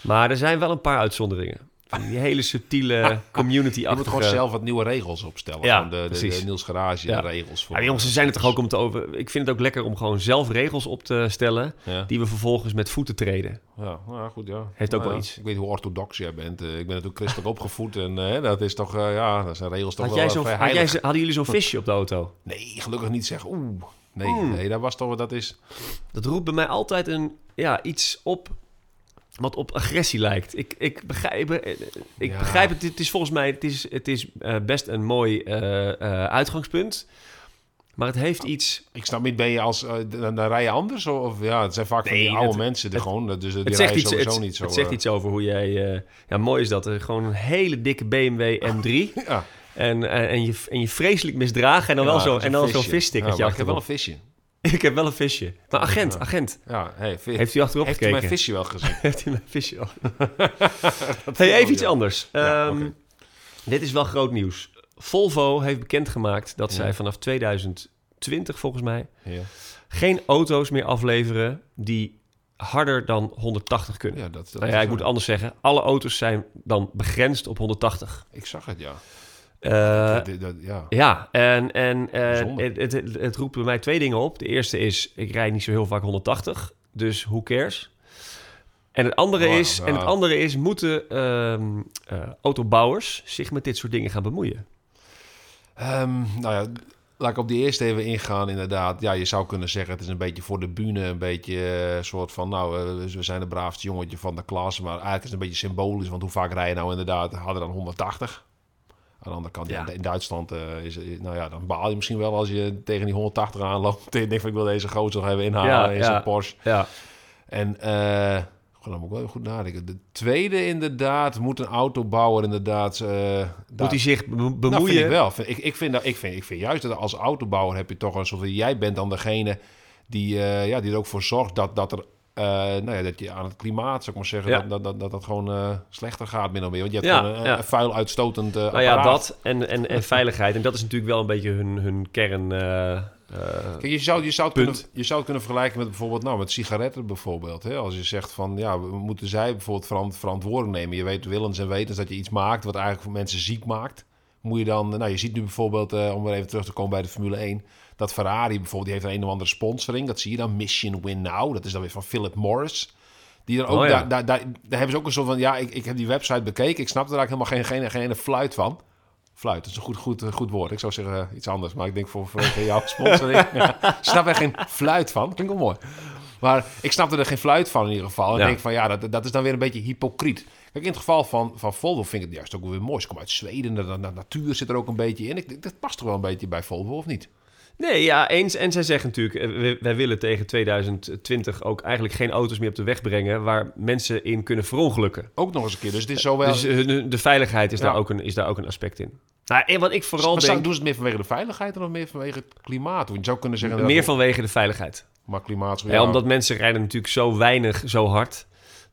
[SPEAKER 1] Maar er zijn wel een paar uitzonderingen. Van die hele subtiele community-achtige...
[SPEAKER 2] Je moet gewoon zelf wat nieuwe regels opstellen.
[SPEAKER 1] Ja,
[SPEAKER 2] Gewoon de, de,
[SPEAKER 1] precies.
[SPEAKER 2] de Niels Garage
[SPEAKER 1] Ja.
[SPEAKER 2] regels voor.
[SPEAKER 1] Ja, maar jongens, ze zijn er toch ook om te over... Ik vind het ook lekker om gewoon zelf regels op te stellen,
[SPEAKER 2] Ja.
[SPEAKER 1] die we vervolgens met voeten treden.
[SPEAKER 2] Ja, nou ja, goed, ja.
[SPEAKER 1] Heeft ook
[SPEAKER 2] Nou
[SPEAKER 1] wel
[SPEAKER 2] ja,
[SPEAKER 1] iets.
[SPEAKER 2] Ik weet hoe orthodox jij bent. Eh, Ik ben natuurlijk christelijk opgevoed en eh, dat is toch, eh, ja, dat zijn regels toch
[SPEAKER 1] Had
[SPEAKER 2] wel
[SPEAKER 1] jij
[SPEAKER 2] eh,
[SPEAKER 1] zo'n-
[SPEAKER 2] vrij
[SPEAKER 1] had jij
[SPEAKER 2] heilig.
[SPEAKER 1] zo, hadden jullie zo'n visje op de auto?
[SPEAKER 2] Nee, gelukkig niet zeggen, oeh. Nee,
[SPEAKER 1] Mm.
[SPEAKER 2] nee, dat was toch dat is.
[SPEAKER 1] Dat roept bij mij altijd een, ja, iets op wat op agressie lijkt. Ik, ik, begrijp, eh, ik
[SPEAKER 2] Ja.
[SPEAKER 1] begrijp het. Het is volgens mij het is, het is eh, best een mooi eh, eh, uitgangspunt. Maar het heeft iets...
[SPEAKER 2] Ik snap niet, ben je als eh, dan, dan rij je anders of, of- ja, het zijn vaak van
[SPEAKER 1] Nee,
[SPEAKER 2] die oude
[SPEAKER 1] het-
[SPEAKER 2] mensen die
[SPEAKER 1] het-
[SPEAKER 2] gewoon, dus die
[SPEAKER 1] Het zegt,
[SPEAKER 2] rijden
[SPEAKER 1] iets,
[SPEAKER 2] sowieso
[SPEAKER 1] het,
[SPEAKER 2] niet zo.
[SPEAKER 1] het zegt
[SPEAKER 2] eh,
[SPEAKER 1] iets over hoe jij... eh, ja, mooi is dat. eh, Gewoon een hele dikke BMW M3.
[SPEAKER 2] Ja,
[SPEAKER 1] En, eh, en, en, je, en je vreselijk misdragen. En dan wel
[SPEAKER 2] Ja,
[SPEAKER 1] zo,
[SPEAKER 2] dat is
[SPEAKER 1] en
[SPEAKER 2] een
[SPEAKER 1] dan zo'n
[SPEAKER 2] visje.
[SPEAKER 1] visstickertje
[SPEAKER 2] Ja, maar ik heb
[SPEAKER 1] achterop.
[SPEAKER 2] wel een visje.
[SPEAKER 1] Ik heb wel een visje. Maar agent,
[SPEAKER 2] Ja.
[SPEAKER 1] agent.
[SPEAKER 2] Ja, hey, vi-
[SPEAKER 1] Heeft u achterop
[SPEAKER 2] heeft u
[SPEAKER 1] gekeken?
[SPEAKER 2] mijn visje wel gezien?
[SPEAKER 1] Heeft u mijn visje al? hey, even
[SPEAKER 2] wel,
[SPEAKER 1] iets
[SPEAKER 2] ja.
[SPEAKER 1] anders.
[SPEAKER 2] Ja,
[SPEAKER 1] Ehm,
[SPEAKER 2] oké.
[SPEAKER 1] Dit is wel groot nieuws. Volvo heeft bekendgemaakt dat
[SPEAKER 2] Ja.
[SPEAKER 1] zij vanaf 2020 volgens mij
[SPEAKER 2] Ja.
[SPEAKER 1] geen auto's meer afleveren die harder dan 180 kunnen.
[SPEAKER 2] Ja, dat, dat
[SPEAKER 1] nou
[SPEAKER 2] is
[SPEAKER 1] ja, ik
[SPEAKER 2] wel-
[SPEAKER 1] moet anders zeggen. Alle auto's zijn dan begrensd op 180.
[SPEAKER 2] Ik zag het, ja.
[SPEAKER 1] Eh,
[SPEAKER 2] Dat- dat- dat- ja.
[SPEAKER 1] Ja, en, en eh,
[SPEAKER 2] Bijzonder.
[SPEAKER 1] het, het, het- het roept bij mij twee dingen op. De eerste is, ik rijd niet zo heel vaak 180, dus who cares? En het andere,
[SPEAKER 2] Oh,
[SPEAKER 1] is,
[SPEAKER 2] ja.
[SPEAKER 1] en het andere is, moeten ehm, eh, autobouwers zich met dit soort dingen gaan bemoeien?
[SPEAKER 2] Ehm, nou ja, laat ik op die eerste even ingaan, inderdaad. Ja, je zou kunnen zeggen, het is een beetje voor de bühne, een beetje eh, soort van, nou, eh, we zijn de braafste jongetje van de klas. Maar eigenlijk is het een beetje symbolisch, want hoe vaak rij je nou inderdaad harder dan 180? Aan de andere kant, ja.
[SPEAKER 1] Ja.
[SPEAKER 2] in Duitsland, eh, is, is- nou ja, dan baal je misschien wel als je tegen die 180 aanloopt. Ik denk van, ik wil deze gozer nog even inhalen
[SPEAKER 1] Ja,
[SPEAKER 2] in
[SPEAKER 1] ja.
[SPEAKER 2] zijn Porsche.
[SPEAKER 1] Ja,
[SPEAKER 2] En eh goh, dan moet ik wel even goed nadenken. De tweede inderdaad, moet een autobouwer inderdaad... eh,
[SPEAKER 1] moet
[SPEAKER 2] daar-
[SPEAKER 1] hij zich be- bemoeien?
[SPEAKER 2] nou, vind ik wel. Vind- Ik, ik, vind dat, ik, vind, ik vind juist dat als autobouwer heb je toch een soort... van- Jij bent dan degene die, eh, ja, die er ook voor zorgt dat, dat er... eh, nou ja, dat je aan het klimaat, zou ik maar zeggen,
[SPEAKER 1] Ja.
[SPEAKER 2] dat, dat, dat, dat dat gewoon eh, slechter gaat, min of meer. Want je hebt
[SPEAKER 1] Ja,
[SPEAKER 2] gewoon een,
[SPEAKER 1] ja.
[SPEAKER 2] een vuil uitstotend eh,
[SPEAKER 1] nou ja,
[SPEAKER 2] apparaat.
[SPEAKER 1] dat en, en, en veiligheid. En dat is natuurlijk wel een beetje hun, hun kern. eh, eh,
[SPEAKER 2] Kijk, je zou, je, zou het
[SPEAKER 1] Punt.
[SPEAKER 2] kunnen, je zou het kunnen vergelijken met bijvoorbeeld nou, met sigaretten bijvoorbeeld. Hè? Als je zegt van ja, we moeten zij bijvoorbeeld veran- verantwoording nemen. Je weet willens en wetens dat je iets maakt wat eigenlijk voor mensen ziek maakt. Moet je dan, nou je ziet nu bijvoorbeeld, eh, om weer even terug te komen bij de Formule 1, dat Ferrari bijvoorbeeld, die heeft een, een of andere sponsoring. Dat zie je dan, Mission Win Now. Dat is dan weer van Philip Morris. Die dan ook,
[SPEAKER 1] Oh ja.
[SPEAKER 2] daar, daar, daar, daar hebben ze ook een soort van, ja, ik, ik heb die website bekeken. Ik snap er eigenlijk helemaal geen, geen, geen ene fluit van. Fluit, dat is een goed, goed, goed woord. Ik zou zeggen eh, iets anders, maar ik denk voor, voor voor jouw sponsoring. ja, snap er geen fluit van. Klinkt wel mooi. Maar ik snapte er geen fluit van in ieder geval. En ik
[SPEAKER 1] Ja.
[SPEAKER 2] denk van ja, dat, dat is dan weer een beetje hypocriet. Kijk, in het geval van, van Volvo vind ik het juist ook weer mooi. Ze komen uit Zweden, de, de natuur zit er ook een beetje in. Ik, denk, dat past toch wel een beetje bij Volvo, of niet?
[SPEAKER 1] Nee, ja, eens. En zij zeggen natuurlijk, eh, we- wij willen tegen 2020 ook eigenlijk geen auto's meer op de weg brengen waar mensen in kunnen verongelukken.
[SPEAKER 2] Ook nog eens een keer. Dus het is zowel...
[SPEAKER 1] Dus eh, de, de veiligheid is,
[SPEAKER 2] Ja.
[SPEAKER 1] daar ook een, is daar ook een aspect in. Nou, en wat ik vooral
[SPEAKER 2] maar zou-
[SPEAKER 1] denk,
[SPEAKER 2] doen ze het meer vanwege de veiligheid dan meer vanwege het klimaat? Want je zou kunnen zeggen...
[SPEAKER 1] meer
[SPEAKER 2] dat-
[SPEAKER 1] vanwege de veiligheid.
[SPEAKER 2] Maar klimaat...
[SPEAKER 1] Hè, omdat mensen rijden natuurlijk zo weinig, zo hard,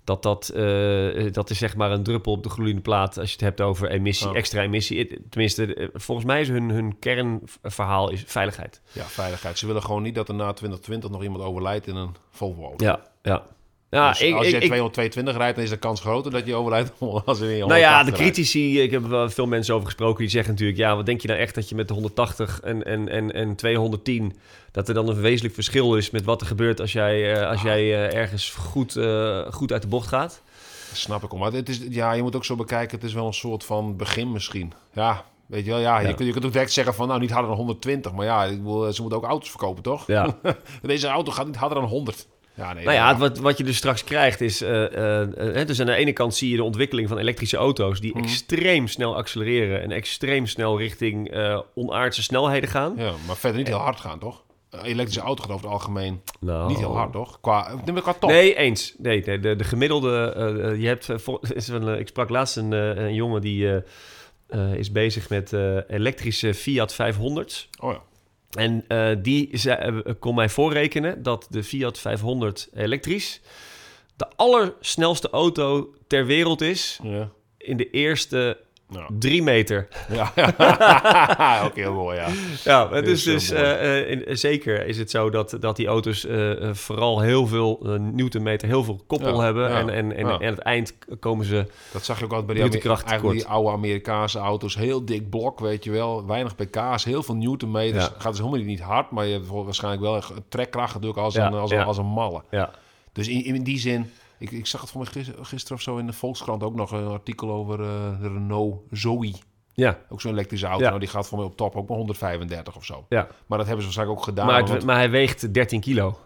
[SPEAKER 1] dat dat, eh, dat is zeg maar een druppel op de gloeiende plaat als je het hebt over emissie,
[SPEAKER 2] Ja.
[SPEAKER 1] extra emissie. Het- Tenminste, eh, volgens mij is hun, hun kernverhaal is veiligheid.
[SPEAKER 2] Ja, veiligheid. Ze willen gewoon niet dat er na 2020 nog iemand overlijdt in een Volvo.
[SPEAKER 1] Ja, ja. Ja,
[SPEAKER 2] Dus
[SPEAKER 1] ik,
[SPEAKER 2] als je
[SPEAKER 1] ik, ik-
[SPEAKER 2] 222 rijdt, dan is de kans groter dat je overlijdt als je in je
[SPEAKER 1] Nou ja,
[SPEAKER 2] 180
[SPEAKER 1] de
[SPEAKER 2] rijdt.
[SPEAKER 1] critici, ik heb er wel veel mensen over gesproken, die zeggen natuurlijk, ja, wat denk je nou echt dat je met de 180 en, en, en, en 210, dat er dan een wezenlijk verschil is met wat er gebeurt als jij, eh, als jij eh, ergens goed, eh, goed uit de bocht gaat?
[SPEAKER 2] Dat snap ik om. Maar het is, ja, je moet ook zo bekijken, het is wel een soort van begin misschien. Ja, weet je wel, ja,
[SPEAKER 1] Ja.
[SPEAKER 2] Je, kunt, je kunt ook direct zeggen van, nou, niet harder dan 120. Maar ja, ik wil, ze moeten ook auto's verkopen, toch?
[SPEAKER 1] Ja.
[SPEAKER 2] Deze auto gaat niet harder dan 100. Ja, nee,
[SPEAKER 1] nou ja, het- wat, wat je dus straks krijgt is, eh, eh, eh, hè, dus aan de ene kant zie je de ontwikkeling van elektrische auto's
[SPEAKER 2] Mhm.
[SPEAKER 1] die extreem snel accelereren en extreem snel richting eh, onaardse snelheden gaan.
[SPEAKER 2] ja, maar verder niet heel hard gaan, toch? Een elektrische auto gaat over het algemeen
[SPEAKER 1] Nou,
[SPEAKER 2] niet heel hard, toch? Qua, neem maar qua top.
[SPEAKER 1] Nee, eens. Nee, nee, de, de gemiddelde. eh, eh, je hebt, eh, vol- is wel, eh, ik sprak laatst een, eh, een jongen die eh, eh, is bezig met eh, elektrische Fiat 500's.
[SPEAKER 2] Oh ja.
[SPEAKER 1] En eh, die ze, eh, kon mij voorrekenen dat de Fiat 500 elektrisch de allersnelste auto ter wereld is
[SPEAKER 2] Ja. Nou.
[SPEAKER 1] in de eerste
[SPEAKER 2] Ja.
[SPEAKER 1] drie meter.
[SPEAKER 2] Ja, ja. ook heel mooi, ja.
[SPEAKER 1] Ja, het
[SPEAKER 2] Heel
[SPEAKER 1] is dus
[SPEAKER 2] snel mooi.
[SPEAKER 1] eh, eh, in- eh, zeker is het zo dat, dat die auto's eh, eh, vooral heel veel eh, newtonmeter, heel veel koppel
[SPEAKER 2] Ja,
[SPEAKER 1] hebben.
[SPEAKER 2] ja,
[SPEAKER 1] en, en, en
[SPEAKER 2] ja.
[SPEAKER 1] aan het eind k- komen ze
[SPEAKER 2] Dat zag je ook altijd bij die,
[SPEAKER 1] Brute
[SPEAKER 2] Amer-
[SPEAKER 1] krachttekort.
[SPEAKER 2] eigenlijk die oude Amerikaanse auto's. Heel dik blok, weet je wel. Weinig pk's, heel veel newtonmeters.
[SPEAKER 1] Ja.
[SPEAKER 2] Gaat dus helemaal niet hard, maar je hebt voor- waarschijnlijk wel een trekkracht natuurlijk als,
[SPEAKER 1] Ja,
[SPEAKER 2] een, als,
[SPEAKER 1] ja.
[SPEAKER 2] een, als een malle.
[SPEAKER 1] Ja.
[SPEAKER 2] Dus in, in die zin, ik, ik zag het van mij gisteren, gisteren of zo in de Volkskrant ook nog een artikel over eh, de Renault Zoe.
[SPEAKER 1] Ja,
[SPEAKER 2] Ook zo'n elektrische auto,
[SPEAKER 1] Ja.
[SPEAKER 2] nou, die gaat voor mij op top ook maar 135 of zo.
[SPEAKER 1] ja.
[SPEAKER 2] Maar dat hebben ze waarschijnlijk ook gedaan.
[SPEAKER 1] Maar, het-
[SPEAKER 2] want
[SPEAKER 1] maar hij weegt 13 kilo.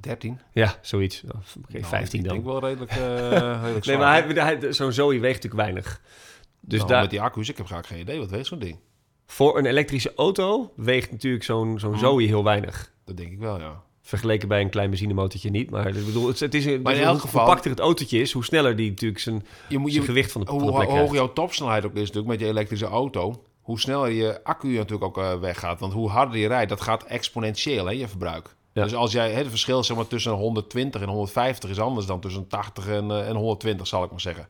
[SPEAKER 2] 13?
[SPEAKER 1] Ja, zoiets. Nou, Oké,
[SPEAKER 2] Nou,
[SPEAKER 1] 15
[SPEAKER 2] ik
[SPEAKER 1] dan.
[SPEAKER 2] denk wel redelijk, eh redelijk
[SPEAKER 1] Nee,
[SPEAKER 2] zwaar.
[SPEAKER 1] maar hij, hij, zo'n Zoe weegt natuurlijk weinig. Dus
[SPEAKER 2] Nou,
[SPEAKER 1] daar,
[SPEAKER 2] met die accu's, ik heb graag geen idee. Wat weegt zo'n ding?
[SPEAKER 1] voor een elektrische auto weegt natuurlijk zo'n, zo'n Zoe heel weinig.
[SPEAKER 2] Dat denk ik wel, ja.
[SPEAKER 1] Vergeleken bij een klein benzinemotortje niet. Maar ik bedoel, het, het is, een-
[SPEAKER 2] Maar in
[SPEAKER 1] dus
[SPEAKER 2] elk
[SPEAKER 1] hoe
[SPEAKER 2] geval-
[SPEAKER 1] compacter het autootje is, hoe sneller die natuurlijk zijn,
[SPEAKER 2] Je moet, je,
[SPEAKER 1] zijn gewicht van de, van de
[SPEAKER 2] hoe
[SPEAKER 1] plek
[SPEAKER 2] ho- hoog
[SPEAKER 1] krijgt.
[SPEAKER 2] jouw topsnelheid ook is natuurlijk met je elektrische auto... hoe sneller je accu natuurlijk ook eh, weggaat. Want hoe harder je rijdt, dat gaat exponentieel, hè, je verbruik.
[SPEAKER 1] Ja.
[SPEAKER 2] Dus als jij, hè, het verschil zeg maar, tussen 120 en 150 is anders dan tussen 80 en, eh, en 120, zal ik maar zeggen.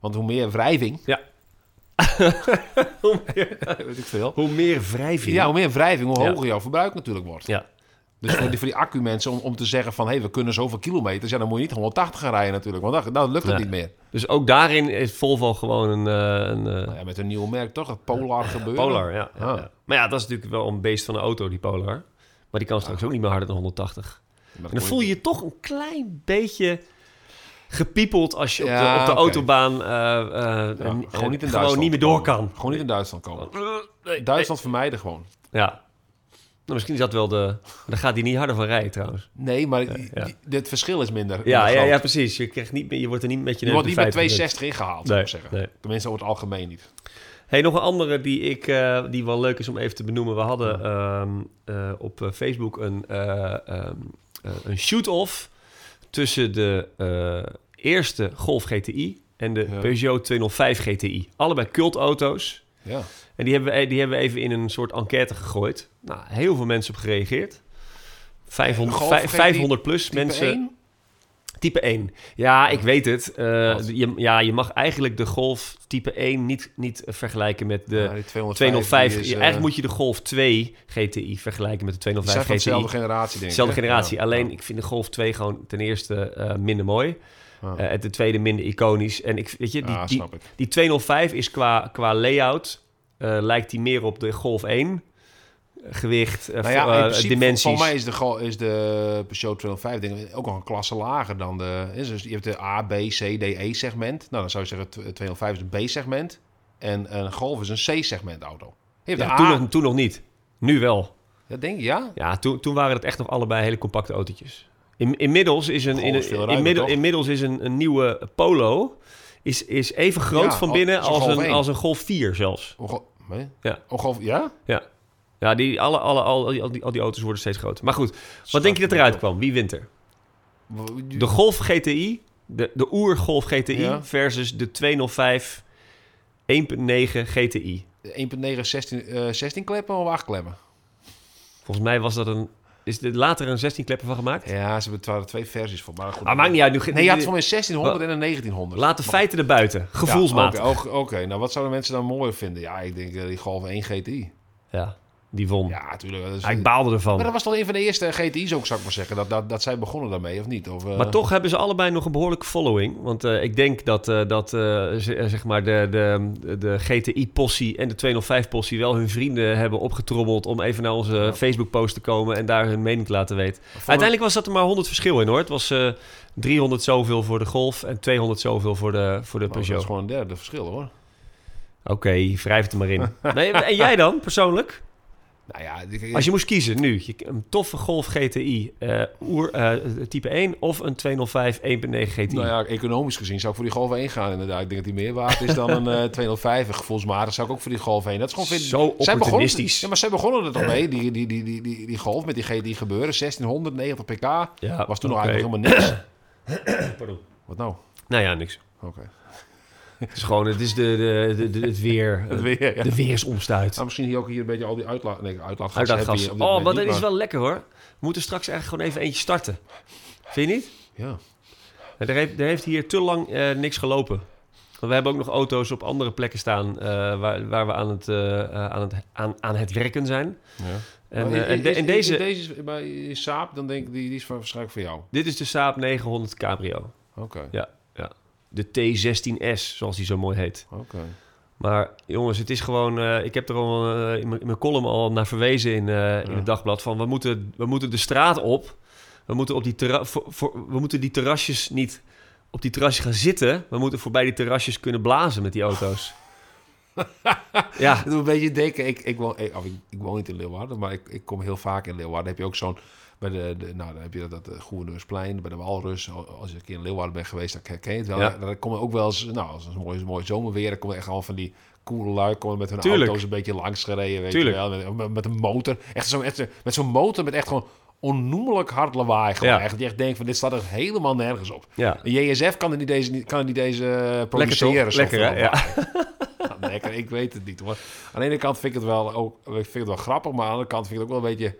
[SPEAKER 2] Want hoe meer wrijving,
[SPEAKER 1] Hoe meer,
[SPEAKER 2] weet ik veel...
[SPEAKER 1] hoe meer wrijving.
[SPEAKER 2] Ja, hoe meer wrijving, hoe
[SPEAKER 1] Ja.
[SPEAKER 2] hoger jouw verbruik natuurlijk wordt.
[SPEAKER 1] Ja.
[SPEAKER 2] Dus voor die, voor die accu-mensen om, om te zeggen van... hé, hey, we kunnen zoveel kilometers. Ja, dan moet je niet 180 gaan rijden natuurlijk. Want dan, dan lukt het
[SPEAKER 1] Nee.
[SPEAKER 2] niet meer.
[SPEAKER 1] Dus ook daarin is Volvo gewoon een, eh, een eh,
[SPEAKER 2] Nou ja, met een nieuw merk toch? Het Polar gebeuren.
[SPEAKER 1] Polar. Ja, ja,
[SPEAKER 2] Ah.
[SPEAKER 1] ja. Maar ja, dat is natuurlijk wel een beest van een auto, die Polar. Maar die kan straks ook niet meer harder dan 180.
[SPEAKER 2] Maar dat
[SPEAKER 1] En dan
[SPEAKER 2] kon
[SPEAKER 1] voel je je toch een klein beetje gepiepeld als je op de,
[SPEAKER 2] Ja,
[SPEAKER 1] op de
[SPEAKER 2] oké.
[SPEAKER 1] autobaan eh, eh,
[SPEAKER 2] Ja,
[SPEAKER 1] en-
[SPEAKER 2] gewoon niet in
[SPEAKER 1] en
[SPEAKER 2] Duitsland.
[SPEAKER 1] gewoon niet meer door kan.
[SPEAKER 2] Gewoon niet in Duitsland komen.
[SPEAKER 1] Nee,
[SPEAKER 2] Duitsland vermijden gewoon.
[SPEAKER 1] nee. Ja. Nou, misschien is dat wel de... Dan gaat hij niet harder van rijden trouwens.
[SPEAKER 2] Nee, maar
[SPEAKER 1] ja.
[SPEAKER 2] die- dit verschil is minder.
[SPEAKER 1] Ja, ja,
[SPEAKER 2] minder groot.
[SPEAKER 1] ja precies. Je, krijgt niet meer, je wordt er niet met je neus
[SPEAKER 2] Je wordt niet
[SPEAKER 1] door
[SPEAKER 2] met
[SPEAKER 1] 50
[SPEAKER 2] 260 ingehaald,
[SPEAKER 1] Nee,
[SPEAKER 2] zou ik zeggen.
[SPEAKER 1] nee.
[SPEAKER 2] Tenminste, over het algemeen niet.
[SPEAKER 1] Hey, nog een andere die, ik, eh, die wel leuk is om even te benoemen. We hadden ehm, eh, op eh, Facebook een, eh, ehm, eh, een shoot-off tussen de eh, eerste Golf GTI en de
[SPEAKER 2] Ja.
[SPEAKER 1] Peugeot 205 GTI. Allebei cultauto's.
[SPEAKER 2] Ja.
[SPEAKER 1] En die hebben, we, die hebben we even in een soort enquête gegooid. Nou, heel veel mensen op gereageerd. 500,
[SPEAKER 2] Golf
[SPEAKER 1] vij-
[SPEAKER 2] GTI
[SPEAKER 1] 500 plus
[SPEAKER 2] Type
[SPEAKER 1] mensen.
[SPEAKER 2] 1?
[SPEAKER 1] Type 1. Ja, ik weet het. Eh,
[SPEAKER 2] Wat?
[SPEAKER 1] je, ja, je mag eigenlijk de Golf type 1 niet, niet vergelijken met de
[SPEAKER 2] Ja, die 205.
[SPEAKER 1] 205.
[SPEAKER 2] die is,
[SPEAKER 1] je-
[SPEAKER 2] eh,
[SPEAKER 1] eigenlijk moet je de Golf 2 GTI vergelijken met de
[SPEAKER 2] die zijn
[SPEAKER 1] 205
[SPEAKER 2] van
[SPEAKER 1] GTI.
[SPEAKER 2] dezelfde generatie, denk ik.
[SPEAKER 1] Dezelfde
[SPEAKER 2] hè?
[SPEAKER 1] generatie.
[SPEAKER 2] Ja.
[SPEAKER 1] Alleen,
[SPEAKER 2] Ja.
[SPEAKER 1] ik vind de Golf 2 gewoon ten eerste eh, minder mooi.
[SPEAKER 2] Ja.
[SPEAKER 1] Eh, en ten tweede minder iconisch. En ik, weet je, die,
[SPEAKER 2] Ja,
[SPEAKER 1] die,
[SPEAKER 2] snap ik.
[SPEAKER 1] die 205 is qua, qua layout... eh, lijkt die meer op de Golf 1. Eh, Gewicht, eh,
[SPEAKER 2] Nou ja,
[SPEAKER 1] eh,
[SPEAKER 2] in principe,
[SPEAKER 1] dimensies.
[SPEAKER 2] Voor mij is de, go- is de Peugeot 205 denk ik, ook nog een klasse lager dan de... is Dus je hebt de A, B, C, D, E segment. Nou, dan zou je zeggen tw- 205 is een B segment. En een Golf is een C segment auto. Je hebt
[SPEAKER 1] Ja,
[SPEAKER 2] de A.
[SPEAKER 1] toen, nog, toen nog niet. Nu wel.
[SPEAKER 2] Dat denk ik, ja.
[SPEAKER 1] Ja, toen, toen waren het echt nog allebei hele compacte autootjes. In, inmiddels is een,
[SPEAKER 2] Goh,
[SPEAKER 1] in,
[SPEAKER 2] is veel ruimer,
[SPEAKER 1] inmiddel-
[SPEAKER 2] toch?
[SPEAKER 1] inmiddels is een, een nieuwe Polo is, is even groot
[SPEAKER 2] Ja,
[SPEAKER 1] van
[SPEAKER 2] al-
[SPEAKER 1] binnen
[SPEAKER 2] als een
[SPEAKER 1] als
[SPEAKER 2] Golf
[SPEAKER 1] een,
[SPEAKER 2] 1.
[SPEAKER 1] als een Golf 4 zelfs.
[SPEAKER 2] Oh, go- nee?
[SPEAKER 1] Ja.
[SPEAKER 2] Oh, Golf, ja?
[SPEAKER 1] Ja, ja die, alle, alle, al, al, die, al die auto's worden steeds groter. Maar goed, wat denk je dat eruit kwam? Wie wint er? De Golf GTI, de, de oer-Golf GTI
[SPEAKER 2] Ja.
[SPEAKER 1] versus de 205 1.9 GTI.
[SPEAKER 2] 1.9 16, eh, 16 kleppen of 8 kleppen?
[SPEAKER 1] Volgens mij was dat een... Is er later een 16 kleppen van gemaakt?
[SPEAKER 2] Ja, ze hebben er twee versies voor. Maar goed.
[SPEAKER 1] Ah, maakt niet uit. Nu, ge-
[SPEAKER 2] Nee, je had voor mij 1600 en een 1900.
[SPEAKER 1] Laat de
[SPEAKER 2] Maar-
[SPEAKER 1] feiten erbuiten.
[SPEAKER 2] Ja,
[SPEAKER 1] Gevoelsmatig.
[SPEAKER 2] Oké, oké, oké. nou wat zouden mensen dan mooier vinden? Ja, ik denk eh, die Golf 1 GTI.
[SPEAKER 1] Ja, die won.
[SPEAKER 2] Ja, natuurlijk. Dat is-
[SPEAKER 1] Ja, ik baalde ervan.
[SPEAKER 2] Maar
[SPEAKER 1] Maar,
[SPEAKER 2] dat was toch een van de eerste GTI's ook, zou ik maar zeggen. Dat, dat, dat zij begonnen daarmee, of niet? Of, eh,
[SPEAKER 1] toch hebben ze allebei nog een behoorlijke following. Want eh, ik denk dat, eh, dat eh, z- eh, zeg maar de, de, de GTI-possie en de 205-possie wel hun vrienden hebben opgetrommeld... om even naar onze
[SPEAKER 2] Ja.
[SPEAKER 1] Facebook-post te komen en daar hun mening te laten weten.
[SPEAKER 2] voor-
[SPEAKER 1] Uiteindelijk was dat er maar 100 verschil in, hoor. Het was eh 300 zoveel voor de Golf en 200 zoveel voor de, voor de
[SPEAKER 2] Nou, dat
[SPEAKER 1] Peugeot.
[SPEAKER 2] is gewoon een derde verschil, hoor.
[SPEAKER 1] Oké, wrijf het er maar in. nee, en jij dan, persoonlijk?
[SPEAKER 2] Nou ja, ik-
[SPEAKER 1] Als je moest kiezen nu, je- een toffe Golf GTI eh, oer, eh, type 1 of een 205 1.9 GTI?
[SPEAKER 2] nou ja, economisch gezien zou ik voor die Golf 1 gaan, inderdaad. Ik denk dat die meer waard is dan een eh 250. Gevoelsmatig zou ik ook voor die Golf 1. Dat is gewoon veel-
[SPEAKER 1] Zo
[SPEAKER 2] Zij begonnen,
[SPEAKER 1] opportunistisch.
[SPEAKER 2] ja, maar zij begonnen er toch mee, die, die, die, die, die, die Golf met die GTI gebeuren. 1600, 90 pk.
[SPEAKER 1] Ja,
[SPEAKER 2] Was toen nog
[SPEAKER 1] oké.
[SPEAKER 2] eigenlijk helemaal niks.
[SPEAKER 1] Pardon.
[SPEAKER 2] Wat nou?
[SPEAKER 1] Nou ja, niks.
[SPEAKER 2] Oké.
[SPEAKER 1] Het is gewoon, het is de, de, de, de- het weer. eh,
[SPEAKER 2] Het weer, ja.
[SPEAKER 1] De weersomstuit.
[SPEAKER 2] Nou, misschien hier ook hier een beetje al die uitlaat... Nee, uitlaatgassen heb je
[SPEAKER 1] Uitlaatgas.
[SPEAKER 2] op
[SPEAKER 1] Oh,
[SPEAKER 2] dit
[SPEAKER 1] maar
[SPEAKER 2] moment
[SPEAKER 1] dat
[SPEAKER 2] niet,
[SPEAKER 1] is wel lekker hoor. We moeten straks eigenlijk gewoon even eentje starten. Vind je niet?
[SPEAKER 2] Ja.
[SPEAKER 1] Er heeft, er heeft hier te lang eh, niks gelopen. Want we hebben ook nog auto's op andere plekken staan eh, waar, waar we aan het, eh, eh, aan, het, aan, aan het werken zijn.
[SPEAKER 2] ja.
[SPEAKER 1] En, eh,
[SPEAKER 2] Maar is-
[SPEAKER 1] en, de-
[SPEAKER 2] is-
[SPEAKER 1] en
[SPEAKER 2] is-
[SPEAKER 1] deze,
[SPEAKER 2] is deze is bij Saab, dan denk ik, die, die is van- waarschijnlijk voor jou.
[SPEAKER 1] dit is de Saab 900 Cabrio.
[SPEAKER 2] Oké,
[SPEAKER 1] Ja, ja. De T16S, zoals die zo mooi heet.
[SPEAKER 2] oké.
[SPEAKER 1] Maar jongens, het is gewoon... eh, ik heb er al eh, in mijn- in mijn column al naar verwezen in, eh, in
[SPEAKER 2] Ja.
[SPEAKER 1] het dagblad... van we moeten, we moeten de straat op. We moeten, op die terra- voor, voor- we moeten die terrasjes niet op die terrasjes gaan zitten. We moeten voorbij die terrasjes kunnen blazen met die auto's. Ja,
[SPEAKER 2] Het doet een beetje denken. Ik, ik, woon, ik, of ik, ik woon niet in Leeuwarden, maar ik, ik kom heel vaak in Leeuwarden. Dan heb je ook zo'n. Bij de, de- nou, dan heb je dat, dat eh, Gouverneursplein, bij de Walrus. Al- Als je een keer in Leeuwarden bent geweest, dan herken je het wel.
[SPEAKER 1] Ja.
[SPEAKER 2] Dan komen ook wel eens, nou, als het een mooi, mooi zomerweer, dan komen echt al van die coole lui komen met hun
[SPEAKER 1] Tuurlijk.
[SPEAKER 2] auto's een beetje langs gereden. Weet
[SPEAKER 1] Tuurlijk.
[SPEAKER 2] Je wel, met, met, met een motor. Echt zo, echt, zo- met zo'n motor met echt gewoon onnoemelijk hard lawaai. Gewoon,
[SPEAKER 1] Ja.
[SPEAKER 2] echt, dat je echt denkt van dit staat echt helemaal nergens op.
[SPEAKER 1] ja.
[SPEAKER 2] Een JSF kan er niet deze, kan er niet deze eh,
[SPEAKER 1] Lekker toch?
[SPEAKER 2] produceren. zoveel
[SPEAKER 1] Lekker, hè?
[SPEAKER 2] lawaai.
[SPEAKER 1] Ja.
[SPEAKER 2] Nou, lekker, ik weet het niet hoor. Aan de ene kant vind ik het wel, ook, ik vind het wel grappig, maar aan de andere kant vind ik het ook wel een beetje...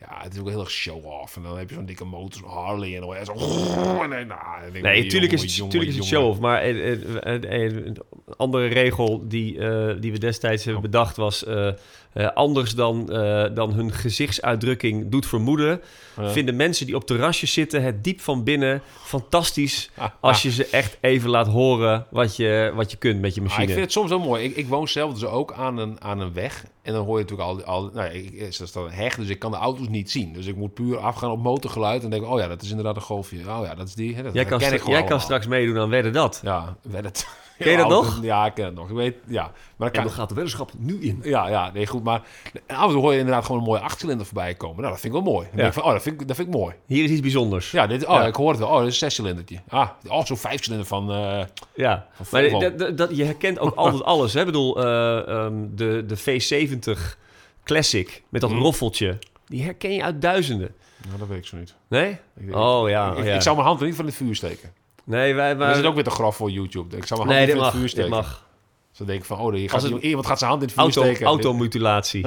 [SPEAKER 2] Ja, het is ook heel erg show-off. En dan heb je zo'n dikke motor, zo'n Harley en dan en zo... en dan- nou, dan denk ik,
[SPEAKER 1] Nee, tuurlijk is het,
[SPEAKER 2] jongen, jongen,
[SPEAKER 1] tuurlijk is het
[SPEAKER 2] jongen.
[SPEAKER 1] show-off. Maar eh, eh, eh, eh, een andere regel die, eh, die we destijds hebben bedacht was... eh, eh, anders dan, eh, dan hun gezichtsuitdrukking doet vermoeden...
[SPEAKER 2] Ja.
[SPEAKER 1] vinden mensen die op terrasjes zitten het diep van binnen fantastisch... als je ze echt even laat horen wat je, wat je kunt met je
[SPEAKER 2] Maar Ah, ik vind
[SPEAKER 1] machine.
[SPEAKER 2] het soms wel mooi. Ik, ik woon zelf dus ook aan een, aan een weg. En dan hoor je natuurlijk al... al nou, ik, ik- er staat een heg, dus ik kan de auto's niet zien. Dus ik moet puur afgaan op motorgeluid. En denk oh ja, dat is inderdaad een golfje. Oh ja, dat is die. hè, dat
[SPEAKER 1] Jij kan,
[SPEAKER 2] herken
[SPEAKER 1] stra-
[SPEAKER 2] ik gewoon
[SPEAKER 1] jij kan
[SPEAKER 2] allemaal.
[SPEAKER 1] straks meedoen aan Wedden Dat.
[SPEAKER 2] Ja, werd het.
[SPEAKER 1] Ken je dat
[SPEAKER 2] Auto-
[SPEAKER 1] nog?
[SPEAKER 2] Ja, ik ken het nog. Ik weet, ja. Maar dan
[SPEAKER 1] En
[SPEAKER 2] kan,
[SPEAKER 1] dan gaat de weddenschap nu in.
[SPEAKER 2] Ja, ja, nee, goed. Maar af en toe hoor je inderdaad gewoon een mooie achtcilinder voorbij komen. Nou, dat vind ik wel mooi. Dan
[SPEAKER 1] Ja.
[SPEAKER 2] denk ik van, oh, dat vind ik, dat vind ik mooi.
[SPEAKER 1] Hier is iets bijzonders.
[SPEAKER 2] Ja, dit, oh,
[SPEAKER 1] Ja.
[SPEAKER 2] ik hoor het wel. Oh, dat is een zescilindertje. Ah, oh, zo'n vijfcilinder van... eh,
[SPEAKER 1] Ja,
[SPEAKER 2] Van
[SPEAKER 1] maar
[SPEAKER 2] Volvo.
[SPEAKER 1] dat- dat, dat, je herkent ook altijd alles. Hè? Ik bedoel, eh, ehm, de, de V70 Classic met dat
[SPEAKER 2] Mhm.
[SPEAKER 1] roffeltje. Die herken je uit duizenden.
[SPEAKER 2] nou, dat weet ik zo niet.
[SPEAKER 1] Nee?
[SPEAKER 2] Ik, ik-
[SPEAKER 1] Oh ja.
[SPEAKER 2] ik,
[SPEAKER 1] oh, ja.
[SPEAKER 2] ik zou mijn hand er niet van in het vuur steken.
[SPEAKER 1] Nee, wij...
[SPEAKER 2] Maar...
[SPEAKER 1] wij
[SPEAKER 2] Dat is ook weer te grof voor YouTube. Ik zou mijn hand
[SPEAKER 1] nee,
[SPEAKER 2] niet
[SPEAKER 1] dit
[SPEAKER 2] van in het
[SPEAKER 1] mag.
[SPEAKER 2] vuur
[SPEAKER 1] Dit
[SPEAKER 2] steken.
[SPEAKER 1] mag.
[SPEAKER 2] Dus dan denk ik van, oh, hier
[SPEAKER 1] Als
[SPEAKER 2] gaat,
[SPEAKER 1] het-
[SPEAKER 2] iemand- iemand gaat zijn hand in het vuur
[SPEAKER 1] Auto,
[SPEAKER 2] steken.
[SPEAKER 1] automutilatie.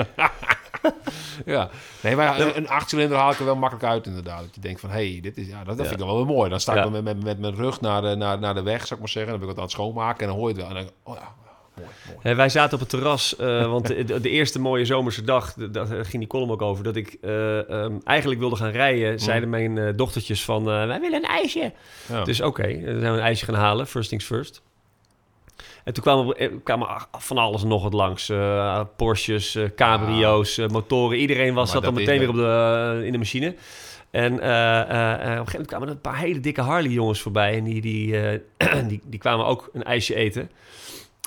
[SPEAKER 2] Ja. Nee, maar een, een achtcilinder haal ik er wel makkelijk uit inderdaad. Dat je denkt van, hé, hey, dit is, ja, dat, dat vind ik dan wel weer mooi. Dan sta ik
[SPEAKER 1] Ja.
[SPEAKER 2] dan met, met, met mijn rug naar de, naar, naar de weg, zou ik maar zeggen. Dan ben ik wat aan het schoonmaken en dan hoor je het wel. En dan denk ik, oh ja, mooi, mooi.
[SPEAKER 1] Hè, wij zaten op het terras, eh, want de, de- de eerste mooie zomerse dag, d- daar ging die column ook over, dat ik eh, ehm, eigenlijk wilde gaan
[SPEAKER 2] Mhm.
[SPEAKER 1] rijden, zeiden mijn eh, dochtertjes van, eh, wij willen een ijsje.
[SPEAKER 2] Ja.
[SPEAKER 1] Dus oké, eh, dan zijn we een ijsje gaan halen, first things first. En toen kwamen, eh, kwamen a- van alles en nog wat langs. eh, Porsches, eh, cabrio's, eh, motoren. Iedereen was,
[SPEAKER 2] Ah.
[SPEAKER 1] zat
[SPEAKER 2] Maar
[SPEAKER 1] dan
[SPEAKER 2] dat is
[SPEAKER 1] meteen weer
[SPEAKER 2] het.
[SPEAKER 1] op de, eh, in de machine. En eh, eh, eh, op een gegeven moment kwamen er een paar hele dikke Harley-jongens voorbij. En die, die, eh, die, die kwamen ook een ijsje eten.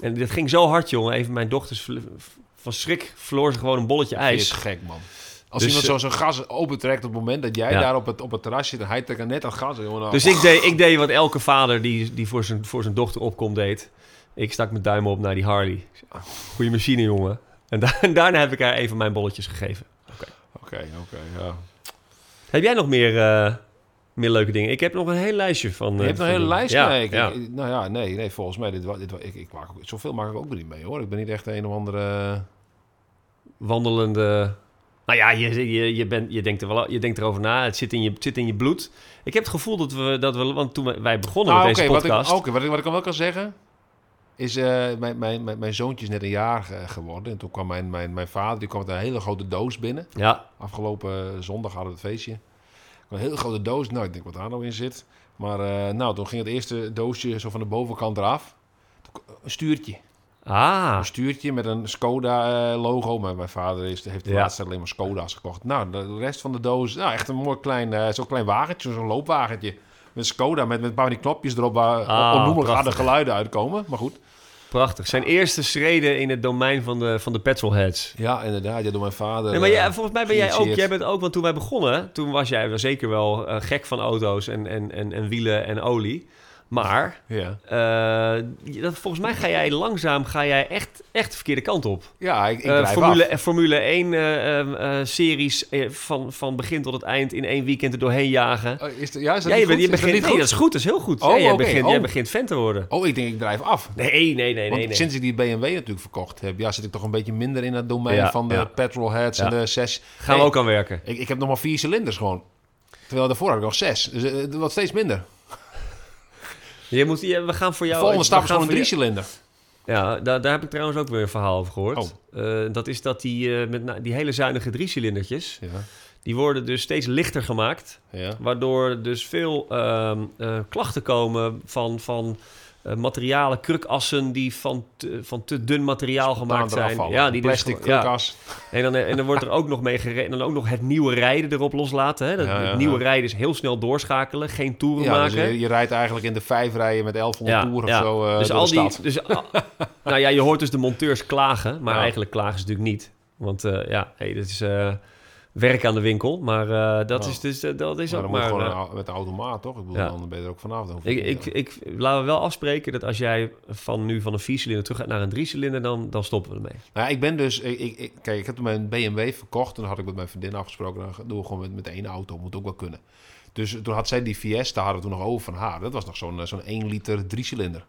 [SPEAKER 1] En dat ging zo hard, jongen. Even mijn dochters vl- van schrik verloor ze gewoon een bolletje
[SPEAKER 2] Hij
[SPEAKER 1] ijs.
[SPEAKER 2] is gek, man. Als
[SPEAKER 1] Dus,
[SPEAKER 2] iemand
[SPEAKER 1] eh,
[SPEAKER 2] zo zijn gas opentrekt op het moment dat jij
[SPEAKER 1] Ja.
[SPEAKER 2] daar op het, op het terras zit en hij trekt er net aan het gas. Jongen, dan-
[SPEAKER 1] Dus ik deed, ik deed wat elke vader die, die voor, zijn, voor zijn dochter opkomt deed. Ik stak mijn duim op naar die Harley. Ik zei, "Ah, Goeie machine, jongen. En, da- en daarna heb ik haar even mijn bolletjes gegeven.
[SPEAKER 2] Oké, oké, ja.
[SPEAKER 1] Heb jij nog meer, eh, meer leuke dingen? Ik heb nog een heel lijstje van...
[SPEAKER 2] Je hebt een hele lijst,
[SPEAKER 1] ja,
[SPEAKER 2] nee, ik-
[SPEAKER 1] ja.
[SPEAKER 2] ik- nou ja, nee, nee, volgens mij, dit, wa- dit, wa- ik, ik maak ook, zoveel maak ik ook weer niet mee, hoor. Ik ben niet echt een of andere...
[SPEAKER 1] Wandelende... Nou ja, je, je, je, bent, je, denkt er wel, je denkt erover na. Het zit in je, het zit in je bloed. Ik heb het gevoel dat we... Dat we want toen wij- wij begonnen
[SPEAKER 2] Ah,
[SPEAKER 1] met
[SPEAKER 2] oké,
[SPEAKER 1] deze
[SPEAKER 2] wat ik-
[SPEAKER 1] podcast...
[SPEAKER 2] Oké, wat, ik, wat ik dan wel kan zeggen, is eh, mijn, mijn, mijn, mijn zoontje is net een jaar eh, geworden. En toen kwam mijn, mijn, mijn vader, die kwam met een hele grote doos binnen.
[SPEAKER 1] Ja,
[SPEAKER 2] Afgelopen eh, zondag hadden we het feestje. Een hele grote doos. Nou, ik denk wat daar nou in zit. Maar eh, nou, toen ging het eerste doosje zo van de bovenkant eraf. Toen k- Een stuurtje.
[SPEAKER 1] ah,
[SPEAKER 2] Een stuurtje met een Skoda-logo. Maar mijn vader is, heeft de
[SPEAKER 1] Ja.
[SPEAKER 2] laatste tijd alleen maar Skoda's gekocht. Nou, de rest van de doos... Nou, echt een mooi klein... eh, zo'n klein wagentje, zo'n loopwagentje. Met Skoda, met, met een paar van die knopjes erop... waar
[SPEAKER 1] Ah,
[SPEAKER 2] onnoemelijk harde
[SPEAKER 1] prachtig.
[SPEAKER 2] geluiden uitkomen. Maar goed.
[SPEAKER 1] prachtig. Zijn eerste schreden in het domein van de, van de petrolheads.
[SPEAKER 2] Ja, inderdaad. Ja, door mijn vader...
[SPEAKER 1] Nee, maar jij,
[SPEAKER 2] eh,
[SPEAKER 1] volgens mij ben jij ook,
[SPEAKER 2] geïnitieerd.
[SPEAKER 1] jij bent ook, want toen wij begonnen, toen was jij wel zeker wel eh, gek van auto's en, en, en, en wielen en olie. Maar
[SPEAKER 2] ja.
[SPEAKER 1] eh, dat, volgens mij ga jij langzaam, ga jij echt, echt de verkeerde kant op.
[SPEAKER 2] ja, ik, ik
[SPEAKER 1] Eh,
[SPEAKER 2] drijf af.
[SPEAKER 1] Formule, eh, Formule 1 eh, ehm, eh, series eh, van, van begin tot het eind in één weekend er doorheen jagen.
[SPEAKER 2] Oh, is dat, ja, is dat
[SPEAKER 1] Ja, je
[SPEAKER 2] niet
[SPEAKER 1] bent, je
[SPEAKER 2] goed? Is dat
[SPEAKER 1] begint,
[SPEAKER 2] niet
[SPEAKER 1] nee,
[SPEAKER 2] goed?
[SPEAKER 1] dat is goed, dat is heel goed.
[SPEAKER 2] Oh,
[SPEAKER 1] Ja, jij,
[SPEAKER 2] oké,
[SPEAKER 1] begint,
[SPEAKER 2] oh.
[SPEAKER 1] jij begint fan te worden.
[SPEAKER 2] Oh, ik denk ik drijf af.
[SPEAKER 1] Nee, nee, nee, nee.
[SPEAKER 2] Want
[SPEAKER 1] nee.
[SPEAKER 2] sinds ik die BMW natuurlijk verkocht heb, ja, zit ik toch een beetje minder in het domein
[SPEAKER 1] Ja,
[SPEAKER 2] van de
[SPEAKER 1] ja.
[SPEAKER 2] petrolheads
[SPEAKER 1] Ja.
[SPEAKER 2] en de zes.
[SPEAKER 1] Gaan we
[SPEAKER 2] Hey,
[SPEAKER 1] ook aan werken.
[SPEAKER 2] Ik, ik heb nog maar vier cilinders gewoon. Terwijl daarvoor had ik nog zes. Dus eh, het wordt steeds minder.
[SPEAKER 1] Je moet, je- we gaan voor
[SPEAKER 2] De
[SPEAKER 1] jou...
[SPEAKER 2] volgende
[SPEAKER 1] we
[SPEAKER 2] stap is
[SPEAKER 1] gaan
[SPEAKER 2] gewoon een
[SPEAKER 1] voor
[SPEAKER 2] drie
[SPEAKER 1] je-
[SPEAKER 2] cilinder.
[SPEAKER 1] Ja, daar, daar heb ik trouwens ook weer een verhaal over gehoord.
[SPEAKER 2] Oh.
[SPEAKER 1] Eh, dat is dat die, eh, met na- die hele zuinige driecilindertjes,
[SPEAKER 2] Ja.
[SPEAKER 1] die worden dus steeds lichter gemaakt.
[SPEAKER 2] Ja.
[SPEAKER 1] Waardoor dus veel ehm, eh, klachten komen van, van eh, materialen, krukassen die van te, van te dun materiaal gemaakt zijn.
[SPEAKER 2] Ja,
[SPEAKER 1] die dus
[SPEAKER 2] plastic,
[SPEAKER 1] gewoon- ja.
[SPEAKER 2] krukas.
[SPEAKER 1] En dan, eh, en dan wordt er ook nog mee gereden. En dan ook nog het nieuwe rijden erop loslaten. Hè? Dat,
[SPEAKER 2] Ja, ja,
[SPEAKER 1] het
[SPEAKER 2] ja.
[SPEAKER 1] nieuwe rijden is heel snel doorschakelen, geen toeren
[SPEAKER 2] Ja, dus
[SPEAKER 1] maken.
[SPEAKER 2] je, je rijdt eigenlijk in de vijf rijen met 1100 toeren of zo eh,
[SPEAKER 1] dus
[SPEAKER 2] door
[SPEAKER 1] al
[SPEAKER 2] de
[SPEAKER 1] die,
[SPEAKER 2] stad.
[SPEAKER 1] dus, al- nou ja, je hoort dus de monteurs klagen, maar
[SPEAKER 2] Ja.
[SPEAKER 1] eigenlijk klagen ze natuurlijk niet. Want eh, ja, hey, dat is eh, werk aan de winkel, maar eh, dat,
[SPEAKER 2] Ja.
[SPEAKER 1] is dus, eh, dat is
[SPEAKER 2] Nou, Maar
[SPEAKER 1] ook maar...
[SPEAKER 2] dan moet
[SPEAKER 1] eh,
[SPEAKER 2] je gewoon een au- met de automaat, toch? Ik bedoel,
[SPEAKER 1] Ja.
[SPEAKER 2] dan ben je er ook vanaf. Dan hoef je
[SPEAKER 1] ik,
[SPEAKER 2] niet,
[SPEAKER 1] ik, ik, laten we wel afspreken dat als jij van nu van een viercilinder terug gaat naar een driecilinder, dan, dan stoppen we ermee.
[SPEAKER 2] Nou, ja, ik ben dus... Ik, ik, ik- kijk, ik heb mijn BMW verkocht. Toen had ik met mijn vriendin afgesproken. Dan doen we gewoon met, met één auto. Moet ook wel kunnen. Dus toen had zij die Fiesta, hadden we toen nog over van haar. Dat was nog zo'n eh, zo'n 1 liter driecilinder.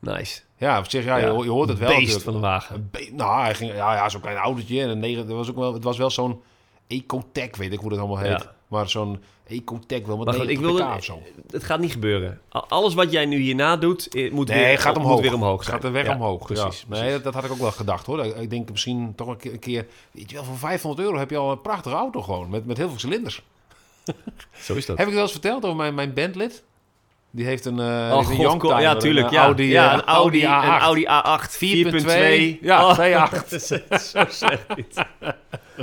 [SPEAKER 1] Nice.
[SPEAKER 2] Ja, op zich, ja,
[SPEAKER 1] Ja,
[SPEAKER 2] Je, ho- je hoort het wel.
[SPEAKER 1] Beest
[SPEAKER 2] natuurlijk.
[SPEAKER 1] van de wagen.
[SPEAKER 2] Een be- nou, hij ging, ja, ja zo'n klein autootje. En een negen, dat was ook wel, het was wel zo'n Ecotec, weet ik hoe dat allemaal heet.
[SPEAKER 1] Ja.
[SPEAKER 2] Maar zo'n Ecotec wel met
[SPEAKER 1] Maar goed,
[SPEAKER 2] 90
[SPEAKER 1] ik wilde-
[SPEAKER 2] pk of zo.
[SPEAKER 1] Het gaat niet gebeuren. A- Alles wat jij nu hierna doet, eh, moet,
[SPEAKER 2] Nee,
[SPEAKER 1] weer,
[SPEAKER 2] gaat
[SPEAKER 1] moet
[SPEAKER 2] omhoog.
[SPEAKER 1] weer omhoog zijn.
[SPEAKER 2] Gaat de weg
[SPEAKER 1] Ja,
[SPEAKER 2] omhoog.
[SPEAKER 1] Precies.
[SPEAKER 2] Precies. Nee, dat, dat had ik ook wel gedacht hoor. Ik denk misschien toch een keer, een keer. Weet je wel, voor 500 euro heb je al een prachtige auto gewoon. Met, met heel veel cilinders.
[SPEAKER 1] precies. Zo is dat.
[SPEAKER 2] Heb ik wel eens verteld over mijn, mijn bandlid? Die heeft een. eh die heeft
[SPEAKER 1] Oh, God,
[SPEAKER 2] een
[SPEAKER 1] ko-
[SPEAKER 2] Youngtimer,
[SPEAKER 1] ja, tuurlijk.
[SPEAKER 2] Een
[SPEAKER 1] ja.
[SPEAKER 2] Audi,
[SPEAKER 1] ja,
[SPEAKER 2] eh,
[SPEAKER 1] een Audi,
[SPEAKER 2] Audi A8.
[SPEAKER 1] Een Audi A8 4.2.
[SPEAKER 2] 4.2. Ja,
[SPEAKER 1] Oh,
[SPEAKER 2] 2.8.
[SPEAKER 1] dat is echt zo slecht. dit.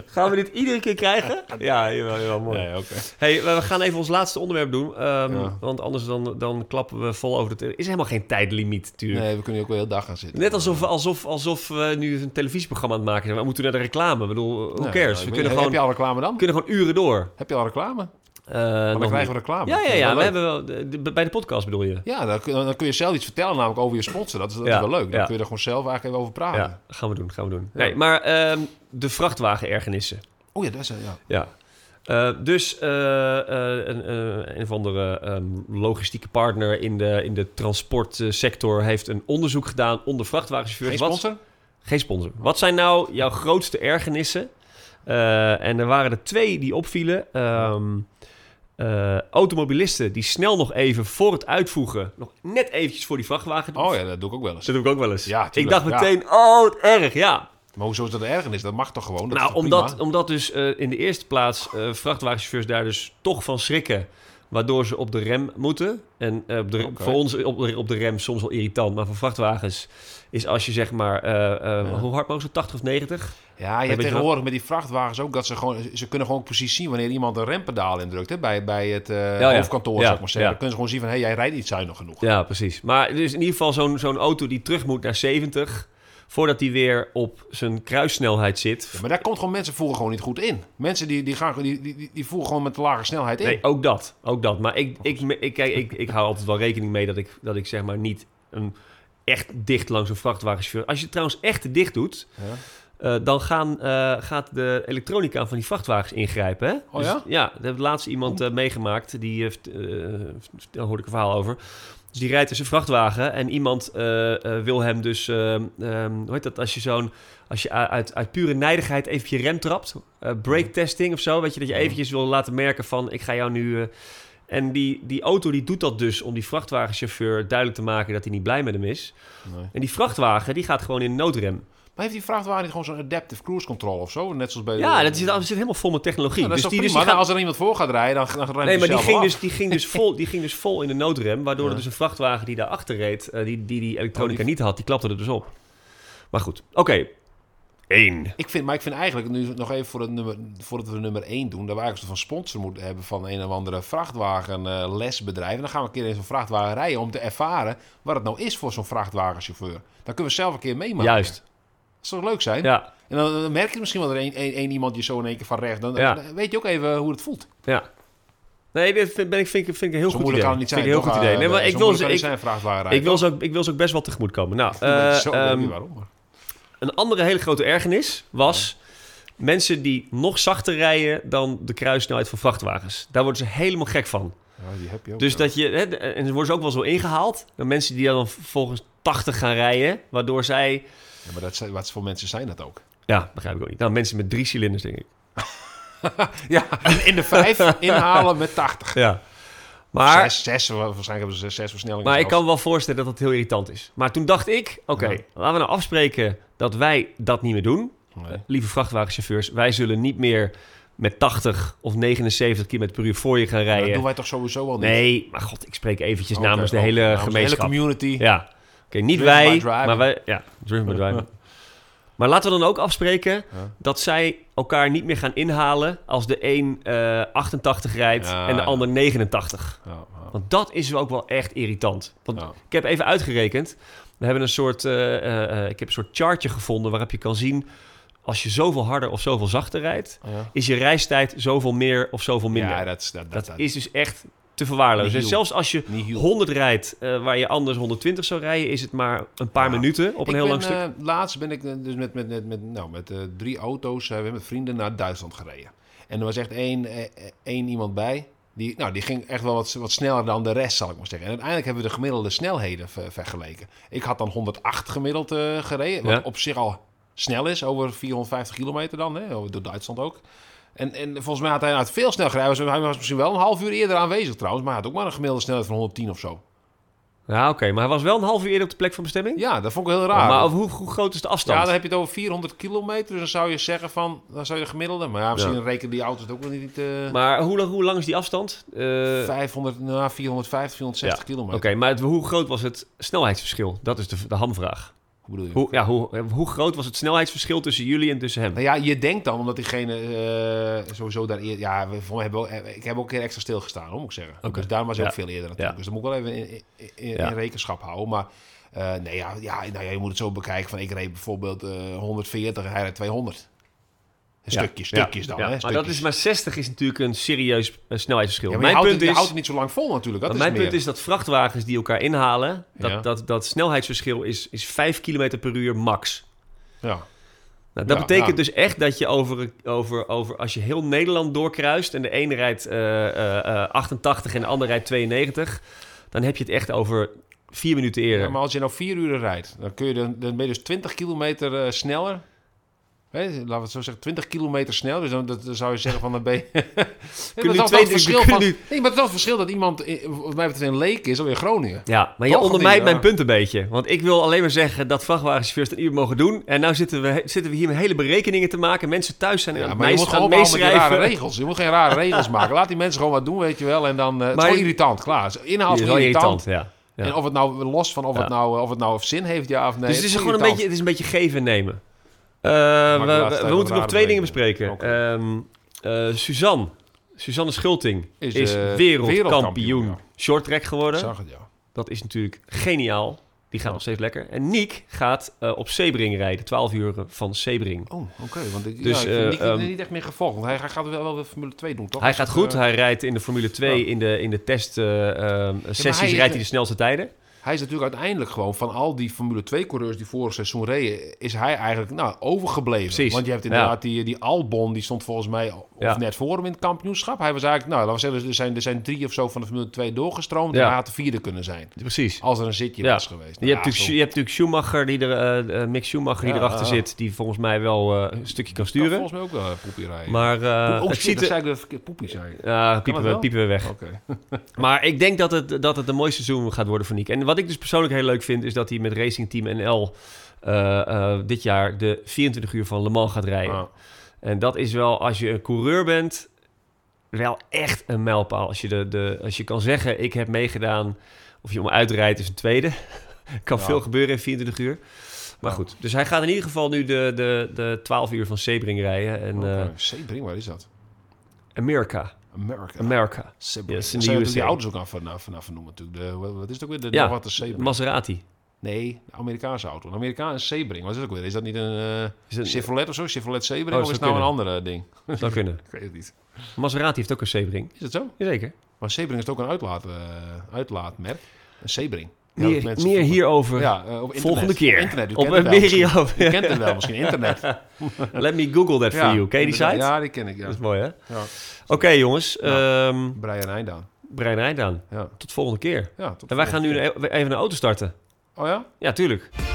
[SPEAKER 1] Gaan we dit iedere keer krijgen? Ja, jawel, jawel, mooi.
[SPEAKER 2] Nee, oké.
[SPEAKER 1] Hey, we we gaan even ons laatste onderwerp doen. ehm,
[SPEAKER 2] Ja.
[SPEAKER 1] Want anders dan, dan klappen we vol over. de. Er is helemaal geen tijdlimiet natuurlijk.
[SPEAKER 2] Nee, we kunnen hier ook wel heel dag gaan zitten.
[SPEAKER 1] Net alsof, we- alsof, alsof we nu een televisieprogramma aan het maken zijn. We moeten naar de reclame. Ik bedoel, who
[SPEAKER 2] Nou,
[SPEAKER 1] cares?
[SPEAKER 2] ik
[SPEAKER 1] we
[SPEAKER 2] weet
[SPEAKER 1] kunnen
[SPEAKER 2] niet,
[SPEAKER 1] gewoon,
[SPEAKER 2] Heb je al reclame dan?
[SPEAKER 1] we kunnen gewoon uren door.
[SPEAKER 2] Heb je al reclame?
[SPEAKER 1] Eh,
[SPEAKER 2] Maar
[SPEAKER 1] nog
[SPEAKER 2] dan krijgen
[SPEAKER 1] niet.
[SPEAKER 2] we reclame.
[SPEAKER 1] Ja, ja,
[SPEAKER 2] Vind ik
[SPEAKER 1] ja. We
[SPEAKER 2] wel leuk.
[SPEAKER 1] hebben wel, de- de- bij de podcast bedoel je.
[SPEAKER 2] Ja, dan kun, dan kun je zelf iets vertellen namelijk over je sponsor. Dat is, dat is
[SPEAKER 1] Ja,
[SPEAKER 2] wel leuk. Dan
[SPEAKER 1] ja.
[SPEAKER 2] kun je er gewoon zelf eigenlijk even over praten.
[SPEAKER 1] Ja, gaan we doen, gaan we doen. Ah. Nee, maar ehm, de vrachtwagenergernissen.
[SPEAKER 2] Oh ja, dat is... Ja.
[SPEAKER 1] Ja. Eh, dus eh, eh, een, eh, een of andere ehm, logistieke partner in de, in de transportsector heeft een onderzoek gedaan onder vrachtwagenchauffeurs.
[SPEAKER 2] Geen
[SPEAKER 1] Wat-
[SPEAKER 2] sponsor?
[SPEAKER 1] Geen sponsor. Wat zijn nou jouw grootste ergernissen? Eh, en er waren er twee die opvielen. Ehm, eh, automobilisten die snel nog even voor het uitvoegen... nog net eventjes voor die vrachtwagen...
[SPEAKER 2] Oh ja, dat doe ik ook wel eens.
[SPEAKER 1] Dat doe ik ook wel eens.
[SPEAKER 2] Ja,
[SPEAKER 1] ik
[SPEAKER 2] tuurlijk,
[SPEAKER 1] dacht
[SPEAKER 2] ja.
[SPEAKER 1] meteen, oh, wat erg, ja.
[SPEAKER 2] Maar hoezo is dat ergernis? Dat mag toch gewoon? Dat
[SPEAKER 1] nou,
[SPEAKER 2] is toch
[SPEAKER 1] omdat,
[SPEAKER 2] prima?
[SPEAKER 1] omdat dus eh, in de eerste plaats eh, vrachtwagenchauffeurs daar dus toch van schrikken... waardoor ze op de rem moeten. En eh, op de,
[SPEAKER 2] Oké.
[SPEAKER 1] voor ons op de, op de rem soms wel irritant... maar voor vrachtwagens is als je zeg maar... eh, eh,
[SPEAKER 2] Ja.
[SPEAKER 1] hoe hard mogen ze? 80 of 90?
[SPEAKER 2] Ja, je
[SPEAKER 1] weet
[SPEAKER 2] hebt
[SPEAKER 1] je
[SPEAKER 2] tegenwoordig met die vrachtwagens ook dat ze gewoon... Ze kunnen gewoon precies zien wanneer iemand een rempedaal indrukt. Hè? Bij, bij het eh,
[SPEAKER 1] ja.
[SPEAKER 2] hoofdkantoor,
[SPEAKER 1] Ja,
[SPEAKER 2] zou ik maar zeggen.
[SPEAKER 1] ja.
[SPEAKER 2] Dan kunnen ze gewoon zien van... Hé, jij rijdt niet zuinig genoeg.
[SPEAKER 1] Ja, precies. Maar dus in ieder geval zo'n zo'n auto die terug moet naar 70... voordat hij weer op zijn kruissnelheid zit.
[SPEAKER 2] Ja, maar daar komt gewoon... Mensen voeren gewoon niet goed in. Mensen die, die, gaan, die, die, die- die voeren gewoon met lage snelheid in.
[SPEAKER 1] Nee, ook dat. Ook dat. Maar ik, ik, me- ik, kijk, ik, ik hou altijd wel rekening mee dat ik, dat ik zeg maar niet... Een, echt dicht langs een vrachtwagenchauffeur. Als je het trouwens echt te dicht doet...
[SPEAKER 2] Ja.
[SPEAKER 1] eh, dan gaan, eh, gaat de elektronica van die vrachtwagens ingrijpen. Hè? Dus,
[SPEAKER 2] Oh ja?
[SPEAKER 1] ja, daar heeft laatst iemand eh, meegemaakt. Die heeft, eh, daar hoorde ik een verhaal over. Dus die rijdt dus een vrachtwagen en iemand eh, eh, wil hem dus... ehm, ehm, hoe heet dat? Als je zo'n... Als je u- uit, uit pure nijdigheid even op je rem trapt. eh brake testing of zo. Weet je, dat je eventjes wil laten merken van... Ik ga jou nu... eh, en die, die auto die doet dat dus om die vrachtwagenchauffeur duidelijk te maken dat hij niet blij met hem is.
[SPEAKER 2] Nee.
[SPEAKER 1] En die vrachtwagen die gaat gewoon in noodrem.
[SPEAKER 2] Maar heeft die vrachtwagen niet gewoon zo'n adaptive cruise control of zo? Net zoals bij...
[SPEAKER 1] Ja,
[SPEAKER 2] de-
[SPEAKER 1] dat zit, dat zit helemaal vol met technologie.
[SPEAKER 2] Eh, Ja, dat is
[SPEAKER 1] dus
[SPEAKER 2] toch
[SPEAKER 1] die, dus
[SPEAKER 2] prima?
[SPEAKER 1] die
[SPEAKER 2] Nou,
[SPEAKER 1] gaat-
[SPEAKER 2] Als er iemand voor gaat rijden, dan, dan rijdt
[SPEAKER 1] nee,
[SPEAKER 2] hij
[SPEAKER 1] maar die
[SPEAKER 2] zelf
[SPEAKER 1] ging,
[SPEAKER 2] wel
[SPEAKER 1] dus,
[SPEAKER 2] af.
[SPEAKER 1] die, ging dus vol, die ging dus vol in de noodrem. Waardoor er
[SPEAKER 2] Ja.
[SPEAKER 1] dus een vrachtwagen die daarachter reed, eh, die, die die elektronica
[SPEAKER 2] Oh, die-
[SPEAKER 1] niet had, die klapte er dus op. Maar goed, oké. Eén.
[SPEAKER 2] Ik vind, maar ik vind eigenlijk, nu nog even voor het nummer, voordat we nummer 1 doen... dat we eigenlijk een soort van sponsor moeten hebben van een of andere vrachtwagenlesbedrijf. lesbedrijf. En dan gaan we een keer in zo'n vrachtwagen rijden om te ervaren... wat het nou is voor zo'n vrachtwagenchauffeur. Dan kunnen we zelf een keer meemaken.
[SPEAKER 1] Juist.
[SPEAKER 2] Dat zou leuk zijn?
[SPEAKER 1] Ja,
[SPEAKER 2] En dan, dan merk je misschien wel er een, een, een iemand je zo in één keer van recht. Dan,
[SPEAKER 1] Ja.
[SPEAKER 2] dan weet je ook even hoe het voelt.
[SPEAKER 1] ja. Nee, dit vind, ben ik, vind, ik- vind ik een heel
[SPEAKER 2] zo
[SPEAKER 1] goed
[SPEAKER 2] moeilijk
[SPEAKER 1] idee.
[SPEAKER 2] kan het niet zijn.
[SPEAKER 1] Vind ik een heel
[SPEAKER 2] toch?
[SPEAKER 1] goed idee. Nee,
[SPEAKER 2] Eh,
[SPEAKER 1] maar
[SPEAKER 2] zo
[SPEAKER 1] ik wil,
[SPEAKER 2] moeilijk
[SPEAKER 1] ze,
[SPEAKER 2] kan niet
[SPEAKER 1] ik,
[SPEAKER 2] zijn vrachtwagenrijden.
[SPEAKER 1] ik, wil ze ook, ik wil ze ook best wel tegemoetkomen. Nou, eh,
[SPEAKER 2] zo, ik weet
[SPEAKER 1] ehm,
[SPEAKER 2] niet waarom, maar...
[SPEAKER 1] Een andere hele grote ergernis was mensen die nog zachter rijden dan de kruissnelheid van vrachtwagens. Daar worden ze helemaal gek van.
[SPEAKER 2] Ja, die heb je ook.
[SPEAKER 1] Dus
[SPEAKER 2] ja.
[SPEAKER 1] dat je, hè, de- en ze worden ze ook wel zo ingehaald, dan mensen die dan volgens 80 gaan rijden, waardoor zij,
[SPEAKER 2] Ja, maar dat zijn, wat voor mensen zijn dat ook?
[SPEAKER 1] ja, begrijp ik ook niet. Nou, mensen met drie cilinders, denk ik.
[SPEAKER 2] Ja, in- in de vijf inhalen met 80.
[SPEAKER 1] Ja. Maar,
[SPEAKER 2] zes, zes, waarschijnlijk hebben ze zes, zes versnellingen.
[SPEAKER 1] maar ik
[SPEAKER 2] zelfs.
[SPEAKER 1] kan me wel voorstellen dat dat heel irritant is. Maar toen dacht ik, oké,
[SPEAKER 2] Ja.
[SPEAKER 1] laten we nou afspreken dat wij dat niet meer doen.
[SPEAKER 2] Nee.
[SPEAKER 1] lieve vrachtwagenchauffeurs, wij zullen niet meer met 80 of 79 km per uur voor je gaan
[SPEAKER 2] Maar dat
[SPEAKER 1] rijden.
[SPEAKER 2] doen wij toch sowieso al niet?
[SPEAKER 1] eh, Nee, maar god, ik spreek eventjes
[SPEAKER 2] Oké,
[SPEAKER 1] namens de
[SPEAKER 2] oké,
[SPEAKER 1] hele
[SPEAKER 2] namens
[SPEAKER 1] gemeenschap.
[SPEAKER 2] hele community.
[SPEAKER 1] ja, oké, niet
[SPEAKER 2] Driven by
[SPEAKER 1] wij,
[SPEAKER 2] driving.
[SPEAKER 1] maar wij, ja, driven by driving. Maar laten we dan ook afspreken
[SPEAKER 2] Ja.
[SPEAKER 1] dat zij elkaar niet meer gaan inhalen als de een eh, 88 rijdt
[SPEAKER 2] Ja,
[SPEAKER 1] en de
[SPEAKER 2] ja.
[SPEAKER 1] ander 89.
[SPEAKER 2] Ja, ja.
[SPEAKER 1] Want dat is ook wel echt irritant. Want
[SPEAKER 2] Ja.
[SPEAKER 1] ik heb even uitgerekend. We hebben een soort, eh, eh, eh, ik heb een soort chartje gevonden waarop je kan zien... als je zoveel harder of zoveel zachter rijdt...
[SPEAKER 2] Ja.
[SPEAKER 1] is je reistijd zoveel meer of zoveel minder.
[SPEAKER 2] Ja, dat, is- dat,
[SPEAKER 1] dat, is dus echt te verwaarlozen.
[SPEAKER 2] Niet
[SPEAKER 1] En
[SPEAKER 2] heel.
[SPEAKER 1] zelfs als je
[SPEAKER 2] niet heel
[SPEAKER 1] 100 rijdt eh, waar je anders 120 zou rijden... is het maar een paar
[SPEAKER 2] Ja.
[SPEAKER 1] minuten op een
[SPEAKER 2] Ik
[SPEAKER 1] heel
[SPEAKER 2] ben,
[SPEAKER 1] lang stuk.
[SPEAKER 2] eh, laatst ben ik eh, dus met, met, met, met, nou, met eh, drie auto's, eh, we hebben vrienden naar Duitsland gereden. En er was echt één, eh, eh, één iemand bij. Die, nou, die ging echt wel wat, wat sneller dan de rest, zal ik maar zeggen. En uiteindelijk hebben we de gemiddelde snelheden ver- vergeleken. Ik had dan 108 gemiddeld eh, gereden, wat
[SPEAKER 1] Ja.
[SPEAKER 2] op zich al snel is, over 450 kilometer dan, hè, over- door Duitsland ook. En, en volgens mij had hij nou het veel sneller gereden. Hij was- Hij was misschien wel een half uur eerder aanwezig trouwens, maar hij had ook maar een gemiddelde snelheid van 110 of zo.
[SPEAKER 1] Ja, oké. Maar hij was wel een half uur eerder op de plek van bestemming?
[SPEAKER 2] eh, Ja, dat vond ik heel raar.
[SPEAKER 1] Maar over hoe, hoe groot is de afstand?
[SPEAKER 2] Ja, dan heb je het over 400 kilometer. Dus dan zou je zeggen van, dan zou je de gemiddelde. Maar ja, misschien rekenen die auto's het ook wel niet. eh
[SPEAKER 1] Maar hoe lang, hoe lang is die afstand? Eh,
[SPEAKER 2] 500, nou, 450, 460
[SPEAKER 1] Oké,
[SPEAKER 2] kilometer.
[SPEAKER 1] maar het- hoe groot was het snelheidsverschil? Dat is de, de hamvraag.
[SPEAKER 2] Hoe bedoel je?
[SPEAKER 1] Hoe, ja, hoe, eh, hoe groot was het snelheidsverschil tussen jullie en tussen hem?
[SPEAKER 2] Nou ja, je denkt dan, omdat diegene eh, sowieso daar eerder... Ja, we, voor mij hebben we ook, ik heb ook een keer extra stilgestaan, hoor, moet ik zeggen.
[SPEAKER 1] Oké.
[SPEAKER 2] Dus daarom was hij ook
[SPEAKER 1] Ja.
[SPEAKER 2] veel eerder natuurlijk.
[SPEAKER 1] Ja.
[SPEAKER 2] Dus dat moet ik wel even in, in- in-
[SPEAKER 1] Ja.
[SPEAKER 2] in rekenschap houden. Maar eh, nee, ja, ja, nou, ja, je moet het zo bekijken. Van, ik reed bijvoorbeeld eh, 140 en hij reed 200. Een
[SPEAKER 1] Ja.
[SPEAKER 2] stukje, stukjes
[SPEAKER 1] Ja.
[SPEAKER 2] dan,
[SPEAKER 1] Ja,
[SPEAKER 2] hè.
[SPEAKER 1] Maar,
[SPEAKER 2] stukjes.
[SPEAKER 1] dat is, maar 60 is natuurlijk een serieus eh, snelheidsverschil.
[SPEAKER 2] Ja, maar je
[SPEAKER 1] mijn
[SPEAKER 2] houdt
[SPEAKER 1] punt,
[SPEAKER 2] het, je
[SPEAKER 1] is,
[SPEAKER 2] houdt het niet zo lang vol natuurlijk. Dat
[SPEAKER 1] want
[SPEAKER 2] is
[SPEAKER 1] mijn
[SPEAKER 2] het meer.
[SPEAKER 1] punt is dat vrachtwagens die elkaar inhalen... dat,
[SPEAKER 2] Ja.
[SPEAKER 1] dat, dat snelheidsverschil is, is 5 km per uur max.
[SPEAKER 2] Ja.
[SPEAKER 1] Nou, dat
[SPEAKER 2] Ja,
[SPEAKER 1] betekent
[SPEAKER 2] ja.
[SPEAKER 1] dus echt dat je over, over, over... als je heel Nederland doorkruist... en de ene rijdt eh, eh, eh, 88 en de ander rijdt 92... dan heb je het echt over vier minuten eerder.
[SPEAKER 2] Ja, maar als je nou vier uur rijdt, dan, kun je dan, dan ben je dus 20 kilometer eh, sneller. Hè, laten we het zo zeggen, 20 kilometer snel. Dus dan, dat, dan zou je zeggen van dan ben je...
[SPEAKER 1] nu
[SPEAKER 2] Nee, maar dat is wel
[SPEAKER 1] twee-
[SPEAKER 2] het verschil
[SPEAKER 1] kunnen
[SPEAKER 2] van,
[SPEAKER 1] nu-
[SPEAKER 2] nee, maar dat is wel het verschil dat iemand, eh, wat mij betreft, in Leek is, alweer Groningen.
[SPEAKER 1] Ja, maar je
[SPEAKER 2] Toch
[SPEAKER 1] ondermijnt
[SPEAKER 2] niet, ja.
[SPEAKER 1] mijn punt een beetje. Want ik wil alleen maar zeggen dat vrachtwagenchauffeurs een uur mogen doen. En nou zitten we, zitten we hier met hele berekeningen te maken. Mensen thuis zijn
[SPEAKER 2] Ja,
[SPEAKER 1] aan het
[SPEAKER 2] maar je
[SPEAKER 1] meest-
[SPEAKER 2] moet
[SPEAKER 1] aan
[SPEAKER 2] gewoon
[SPEAKER 1] het
[SPEAKER 2] ophouden met die rare
[SPEAKER 1] meeschrijven.
[SPEAKER 2] regels. Je moet geen rare regels maken. Laat die mensen gewoon wat doen, weet je wel. En dan... eh, het is
[SPEAKER 1] Maar-
[SPEAKER 2] gewoon irritant, klaar. Het is Inhoud
[SPEAKER 1] Dat
[SPEAKER 2] is
[SPEAKER 1] is wel
[SPEAKER 2] irritant.
[SPEAKER 1] irritant, ja. ja.
[SPEAKER 2] En of het nou los van of, het
[SPEAKER 1] Ja.
[SPEAKER 2] nou, eh, of het nou zin heeft, ja of nee.
[SPEAKER 1] dus het is gewoon een
[SPEAKER 2] irritant.
[SPEAKER 1] beetje, het is een beetje geven en nemen. Eh, we
[SPEAKER 2] laatst
[SPEAKER 1] we- we
[SPEAKER 2] even
[SPEAKER 1] moeten nog
[SPEAKER 2] rare
[SPEAKER 1] twee dingen
[SPEAKER 2] berekeningen.
[SPEAKER 1] bespreken. Ehm eh, Suzanne, Suzanne Schulting, is,
[SPEAKER 2] Is, eh, wereldkampioen,
[SPEAKER 1] wereldkampioen
[SPEAKER 2] ja.
[SPEAKER 1] shorttrack geworden.
[SPEAKER 2] Ik zag het, ja.
[SPEAKER 1] Dat is natuurlijk geniaal. Die gaat
[SPEAKER 2] Ja.
[SPEAKER 1] nog steeds lekker. En Niek gaat eh, op Sebring rijden, 12 uur eh, van Sebring.
[SPEAKER 2] Oh, oké. Want ik,
[SPEAKER 1] Dus,
[SPEAKER 2] ja, ik vind
[SPEAKER 1] eh,
[SPEAKER 2] Nick
[SPEAKER 1] ehm,
[SPEAKER 2] niet echt meer gevolgd. Want hij, hij gaat wel, wel de Formule 2 doen, toch?
[SPEAKER 1] Hij
[SPEAKER 2] Als
[SPEAKER 1] gaat
[SPEAKER 2] ik,
[SPEAKER 1] goed.
[SPEAKER 2] eh,
[SPEAKER 1] hij rijdt in de Formule 2 in de, in de testsessies.
[SPEAKER 2] hij eh,
[SPEAKER 1] sessies
[SPEAKER 2] is
[SPEAKER 1] rijdt
[SPEAKER 2] de-
[SPEAKER 1] hij de snelste tijden.
[SPEAKER 2] hij is natuurlijk uiteindelijk gewoon van al die Formule 2-coureurs die vorig seizoen reden, is hij eigenlijk nou, overgebleven.
[SPEAKER 1] Precies,
[SPEAKER 2] Want je hebt
[SPEAKER 1] ja.
[SPEAKER 2] inderdaad die, die Albon, die stond volgens mij of
[SPEAKER 1] Ja.
[SPEAKER 2] net voor hem in het kampioenschap. Hij was eigenlijk, nou, laten we zeggen, er zijn, er zijn drie of zo van de Formule 2 doorgestroomd.
[SPEAKER 1] Ja.
[SPEAKER 2] En hij had de vierde kunnen zijn.
[SPEAKER 1] Precies.
[SPEAKER 2] Als er een zitje
[SPEAKER 1] Ja.
[SPEAKER 2] was geweest.
[SPEAKER 1] Je hebt,
[SPEAKER 2] Nou, ja,
[SPEAKER 1] natuurlijk,
[SPEAKER 2] zo-
[SPEAKER 1] Schu- je hebt natuurlijk Schumacher, die er, eh, eh, Mick Schumacher, die
[SPEAKER 2] Ja,
[SPEAKER 1] erachter
[SPEAKER 2] ja.
[SPEAKER 1] zit. Die volgens mij wel eh, een stukje kan
[SPEAKER 2] kan
[SPEAKER 1] sturen.
[SPEAKER 2] volgens mij ook wel eh, poepie rijden.
[SPEAKER 1] Maar eh,
[SPEAKER 2] oh,
[SPEAKER 1] het
[SPEAKER 2] shit,
[SPEAKER 1] ziet
[SPEAKER 2] dat
[SPEAKER 1] er...
[SPEAKER 2] zei ik dat verkeerd. Poepie zei ik.
[SPEAKER 1] Ja, piepen,
[SPEAKER 2] het
[SPEAKER 1] we,
[SPEAKER 2] wel?
[SPEAKER 1] piepen we weg.
[SPEAKER 2] Oké.
[SPEAKER 1] Maar ik denk dat het, dat het een mooi seizoen gaat worden voor Nick. En wat ik dus persoonlijk heel leuk vind, is dat hij met Racing Team NL eh, eh, dit jaar de 24 uur van Le Mans gaat rijden.
[SPEAKER 2] Ah,
[SPEAKER 1] En dat is wel, als je een coureur bent, wel echt een mijlpaal. Als je, de, de, als je kan zeggen, ik heb meegedaan, of je om uitrijdt is een tweede. kan
[SPEAKER 2] Ja.
[SPEAKER 1] veel gebeuren in 24 uur. Maar
[SPEAKER 2] Ja.
[SPEAKER 1] goed, dus hij gaat in ieder geval nu de, de, de 12 uur van Sebring rijden. En eh,
[SPEAKER 2] oké. Sebring, waar is dat?
[SPEAKER 1] Amerika,
[SPEAKER 2] Amerika.
[SPEAKER 1] Amerika,
[SPEAKER 2] Sebring.
[SPEAKER 1] Yes, in de
[SPEAKER 2] Daar zijn
[SPEAKER 1] USA.
[SPEAKER 2] natuurlijk die auto's ook aan nou, vanaf, vanaf noemen natuurlijk. De, wat wat is het ook weer? De,
[SPEAKER 1] Ja,
[SPEAKER 2] nog wat de Sebring.
[SPEAKER 1] Maserati.
[SPEAKER 2] nee, de Amerikaanse auto. Een Amerikaanse Sebring. Wat is dat ook weer? Is dat niet een eh,
[SPEAKER 1] Is het-
[SPEAKER 2] Chevrolet of zo? Chevrolet Sebring?
[SPEAKER 1] Oh,
[SPEAKER 2] of is
[SPEAKER 1] zou
[SPEAKER 2] het nou
[SPEAKER 1] kunnen.
[SPEAKER 2] een andere ding?
[SPEAKER 1] zou kunnen.
[SPEAKER 2] Ik weet het niet.
[SPEAKER 1] Maserati heeft ook een Sebring.
[SPEAKER 2] Is het zo?
[SPEAKER 1] Jazeker.
[SPEAKER 2] Maar Sebring is toch ook een uitlaat, eh, uitlaatmerk? Een Sebring. Ja, dat
[SPEAKER 1] Meer,
[SPEAKER 2] mensen
[SPEAKER 1] meer
[SPEAKER 2] vroeger-
[SPEAKER 1] hierover
[SPEAKER 2] Ja, eh, op internet.
[SPEAKER 1] volgende keer.
[SPEAKER 2] Op internet, u
[SPEAKER 1] op
[SPEAKER 2] kent het
[SPEAKER 1] een
[SPEAKER 2] wel misschien.
[SPEAKER 1] video.
[SPEAKER 2] U kent het wel misschien, internet.
[SPEAKER 1] Let me Google that for
[SPEAKER 2] Ja,
[SPEAKER 1] you. Ken je die site?
[SPEAKER 2] inderdaad. Ja, die ken ik, ja.
[SPEAKER 1] Dat is mooi, hè?
[SPEAKER 2] ja.
[SPEAKER 1] Oké, jongens. ehm,
[SPEAKER 2] Brian Eindaan.
[SPEAKER 1] Brian Eindaan.
[SPEAKER 2] Ja.
[SPEAKER 1] Tot volgende keer.
[SPEAKER 2] Ja, tot
[SPEAKER 1] En wij
[SPEAKER 2] volgende
[SPEAKER 1] gaan nu e-
[SPEAKER 2] keer.
[SPEAKER 1] een- even een auto starten.
[SPEAKER 2] Oh ja?
[SPEAKER 1] Ja, tuurlijk.